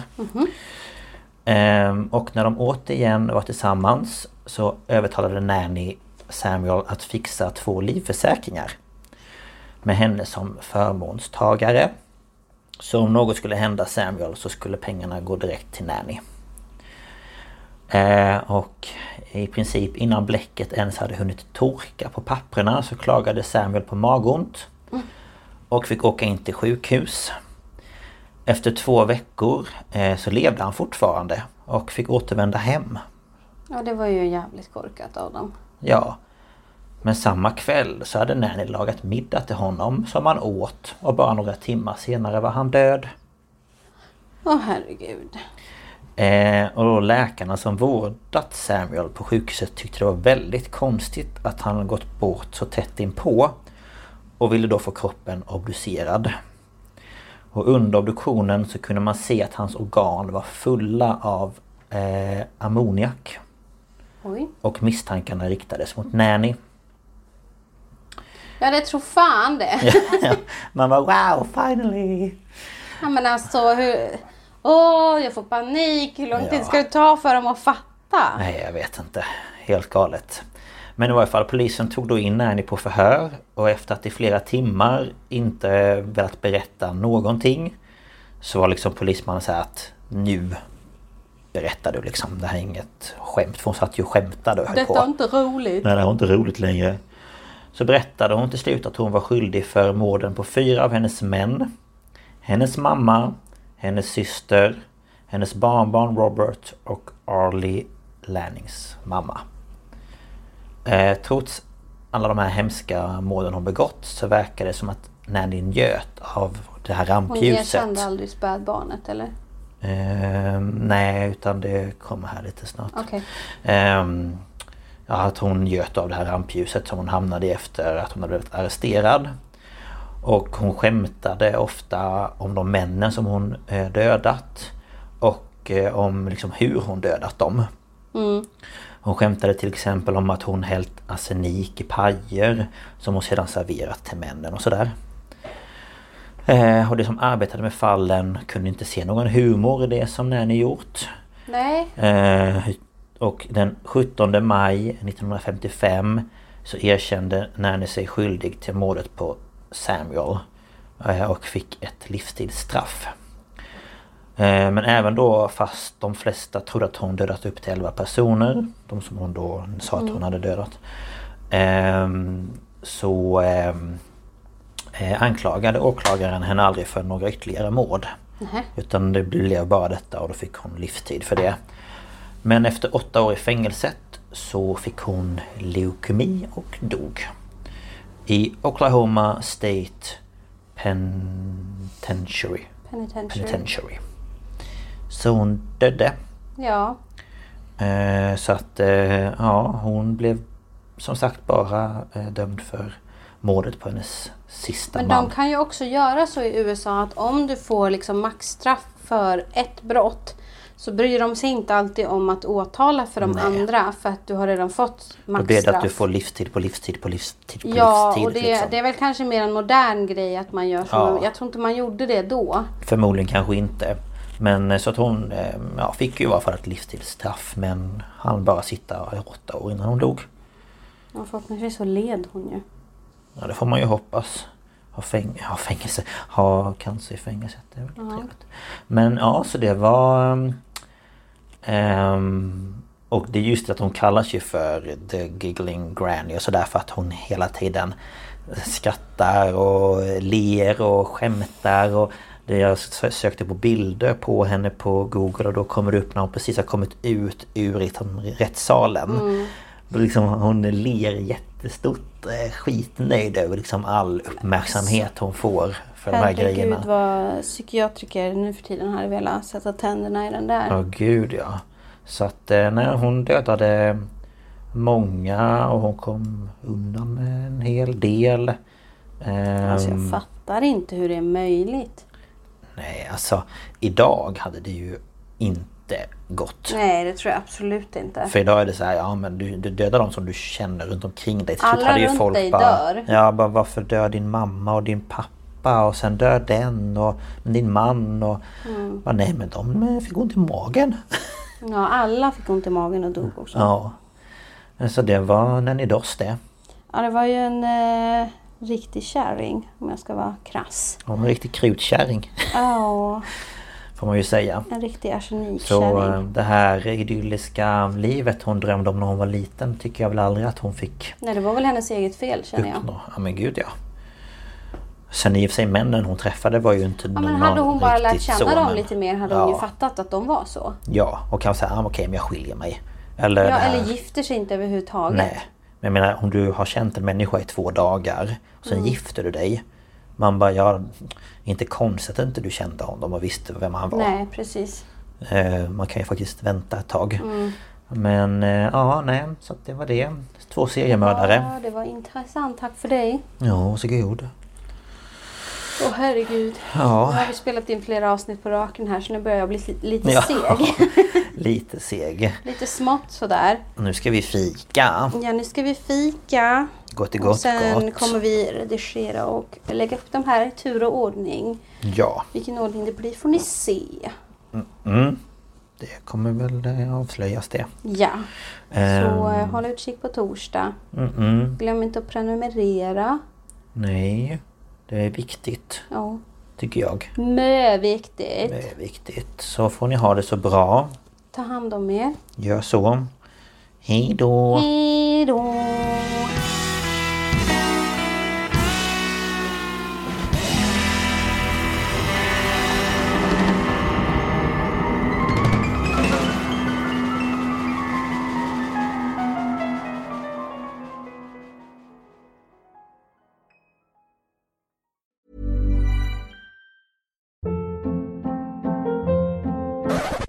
Speaker 3: Ehm, och när de återigen var tillsammans så övertalade Nanny Samuel att fixa två livförsäkringar. Med henne som förmånstagare. Så om något skulle hända Samuel så skulle pengarna gå direkt till Nanny. Eh, och i princip innan bläcket ens hade hunnit torka på papperna så klagade Samuel på magont. Och fick åka in till sjukhus. Efter två veckor eh, så levde han fortfarande och fick återvända hem.
Speaker 2: Ja, det var ju jävligt korkat av dem.
Speaker 3: Ja. Men samma kväll så hade Nanny lagat middag till honom som han åt och bara några timmar senare var han död.
Speaker 2: Åh herregud.
Speaker 3: Eh, och då läkarna som vårdat Samuel på sjukhuset tyckte det var väldigt konstigt att han gått bort så tätt inpå. Och ville då få kroppen obducerad. Och under obduktionen så kunde man se att hans organ var fulla av eh, ammoniak.
Speaker 2: Oj.
Speaker 3: Och misstankarna riktades mot Nanny.
Speaker 2: Ja, det tror fan det.
Speaker 3: man var wow, finally!
Speaker 2: Ja, men alltså hur... Åh, jag får panik. Hur lång tid ska det ta för dem att fatta?
Speaker 3: Nej, jag vet inte. Helt galet. Men i varje fall, polisen tog då in Annie på förhör och efter att i flera timmar inte velat berätta någonting så var liksom polismannen så här att nu berättar du liksom. Det här är inget skämt. För hon satt ju och skämtade och höll på.
Speaker 2: Detta är inte roligt.
Speaker 3: Nej, det var inte roligt längre. Så berättade hon till slut att hon var skyldig för morden på fyra av hennes män. Hennes mamma, hennes syster, hennes barnbarn Robert och Arlie Lannings mamma. Eh, trots alla de här hemska morden hon begått så verkar det som att Nanny njöt av det här
Speaker 2: Hon
Speaker 3: rampljuset.
Speaker 2: erkände aldrig spädbarnet, eller?
Speaker 3: Eh, nej, utan det kommer här lite snart.
Speaker 2: Okej.
Speaker 3: Ehm, ja, att hon njöt av det här rampljuset som hon hamnade i efter att hon hade blivit arresterad. Och hon skämtade ofta om de männen som hon eh, dödat. Och eh, om liksom hur hon dödat dem. Hon skämtade till exempel om att hon hällt arsenik i pajer som hon sedan serverat till männen och sådär. Eh, och de som arbetade med fallen kunde inte se någon humor i det som Nanny gjort.
Speaker 2: Nej.
Speaker 3: Eh, och den 17 maj 1955 så erkände Nanny sig skyldig till mordet på Samuel. eh, Och fick ett livstidsstraff. Eh, Men även då fast de flesta trodde att hon dödat upp till 11 personer. De som hon då sa att hon hade dödat. ehm, Så ehm, eh, anklagade åklagaren henne aldrig för några ytterligare mord. Utan det blev bara detta och då fick hon livstid för det. Men efter åtta år i fängelset så fick hon leukemi och dog. I Oklahoma State Penitentiary.
Speaker 2: Penitentiary.
Speaker 3: Penitentiary. Så hon dödde.
Speaker 2: Ja.
Speaker 3: Eh, Så att eh, ja, hon blev som sagt bara eh, dömd för mordet på hennes sista
Speaker 2: Men
Speaker 3: man.
Speaker 2: de kan ju också göra så i USA att om du får liksom maxstraff för ett brott så bryr de sig inte alltid om att åtala för de andra för att du har redan fått
Speaker 3: Då blir det
Speaker 2: maxstraff.
Speaker 3: att du får livstid på livstid på livstid på
Speaker 2: ja,
Speaker 3: livstid.
Speaker 2: och det,
Speaker 3: liksom.
Speaker 2: det är väl kanske mer en modern grej att man gör så.
Speaker 3: Ja.
Speaker 2: Jag tror inte man gjorde det då.
Speaker 3: Förmodligen kanske inte. Men eh, så att hon eh, ja, fick ju i alla fall ett livstidsstraff men han bara sitta i åtta år innan hon dog.
Speaker 2: Ja, förhoppningsvis så led hon ju.
Speaker 3: Ja, det får man ju hoppas. Ha, fäng ha fängelse, ha cancer i fängelset. Det är väl trevligt. Men ja, så det var... ehm, ehm, och det är just att hon kallas ju för The Giggling Granny och sådär för att hon hela tiden skrattar och ler och skämtar och det jag sö- sökte på bilder på henne på Google och då kommer det upp när hon precis har kommit ut ur liksom rättssalen.
Speaker 2: Mm.
Speaker 3: Då Liksom, hon ler jättestort, eh, skitnöjd över liksom all uppmärksamhet hon får för de här grejerna.
Speaker 2: Herregud vad psykiatriker nu för tiden hade velat sätta tänderna i den där.
Speaker 3: Ja, gud ja. Så att eh, nej, hon dödade många och hon kom undan med en hel del. Ehm,
Speaker 2: Alltså jag fattar inte hur det är möjligt.
Speaker 3: Nej, alltså idag hade det ju inte gått.
Speaker 2: Nej, det tror jag absolut inte.
Speaker 3: För idag är det så här, ja men du, du dödar de som du känner runt omkring dig. Till slut
Speaker 2: Alla
Speaker 3: hade ju
Speaker 2: runt dig
Speaker 3: bara,
Speaker 2: dör.
Speaker 3: Ja, bara varför dör din mamma och din pappa pappa och sen dör den och men din man och...
Speaker 2: Mm.
Speaker 3: Bara, nej men de eh, fick ont i magen.
Speaker 2: Ja, alla fick ont i magen och dog också.
Speaker 3: ja. Så det var Nanny Doss det.
Speaker 2: Ja, det var ju en eh, riktig kärring om jag ska vara krass.
Speaker 3: Hon var en riktig krutkärring
Speaker 2: Ja,
Speaker 3: får man ju säga.
Speaker 2: en riktig
Speaker 3: Så eh,
Speaker 2: arsenikkärring.
Speaker 3: det här idylliska livet hon drömde om när hon var liten tycker jag väl aldrig att hon fick
Speaker 2: Nej, det var väl hennes eget fel känner jag.
Speaker 3: uppnå. Ja men gud ja. Sen i och för sig männen hon träffade var ju inte
Speaker 2: Ja,
Speaker 3: någon
Speaker 2: men hade hon bara lärt
Speaker 3: riktigt
Speaker 2: känna
Speaker 3: så,
Speaker 2: dem
Speaker 3: men-
Speaker 2: lite mer hade
Speaker 3: ja,
Speaker 2: hon ju fattat att de var så.
Speaker 3: Ja, och kanske säga ah, okej men jag skiljer mig. Eller, det
Speaker 2: Ja,
Speaker 3: här-
Speaker 2: eller gifter sig inte överhuvudtaget.
Speaker 3: Nej. Men jag menar om du har känt en människa i två dagar och
Speaker 2: Mm.
Speaker 3: sen gifter du dig. Man bara, ja, inte konstigt att inte du kände honom och visste vem han var.
Speaker 2: Nej, precis.
Speaker 3: Eh, man kan ju faktiskt vänta ett tag.
Speaker 2: Mm.
Speaker 3: Men eh, ja, nej, så att det var det. Två seriemördare.
Speaker 2: Ja, det var intressant. Tack för dig.
Speaker 3: Ja, varsågod.
Speaker 2: Åh herregud. Nu
Speaker 3: Ja,
Speaker 2: har vi spelat in flera avsnitt på raken här så nu börjar jag bli li- lite
Speaker 3: Ja.
Speaker 2: seg.
Speaker 3: lite seg.
Speaker 2: lite smått sådär.
Speaker 3: Nu ska vi fika.
Speaker 2: Ja, nu ska vi fika.
Speaker 3: Gott i
Speaker 2: och
Speaker 3: gott
Speaker 2: sen
Speaker 3: gott.
Speaker 2: kommer vi redigera och lägga upp de här i tur och ordning.
Speaker 3: Ja,
Speaker 2: Vilken ordning det blir får ni se.
Speaker 3: det kommer väl eh, avslöjas det.
Speaker 2: Ja, så
Speaker 3: Ehm,
Speaker 2: eh, håll utkik på torsdag. Glöm inte att prenumerera.
Speaker 3: Nej, det är viktigt
Speaker 2: Ja,
Speaker 3: tycker jag.
Speaker 2: mö viktigt.
Speaker 3: Det är viktigt. Så får ni ha det så bra.
Speaker 2: Ta hand om er.
Speaker 3: Gör så. Hej då.
Speaker 2: Hej då!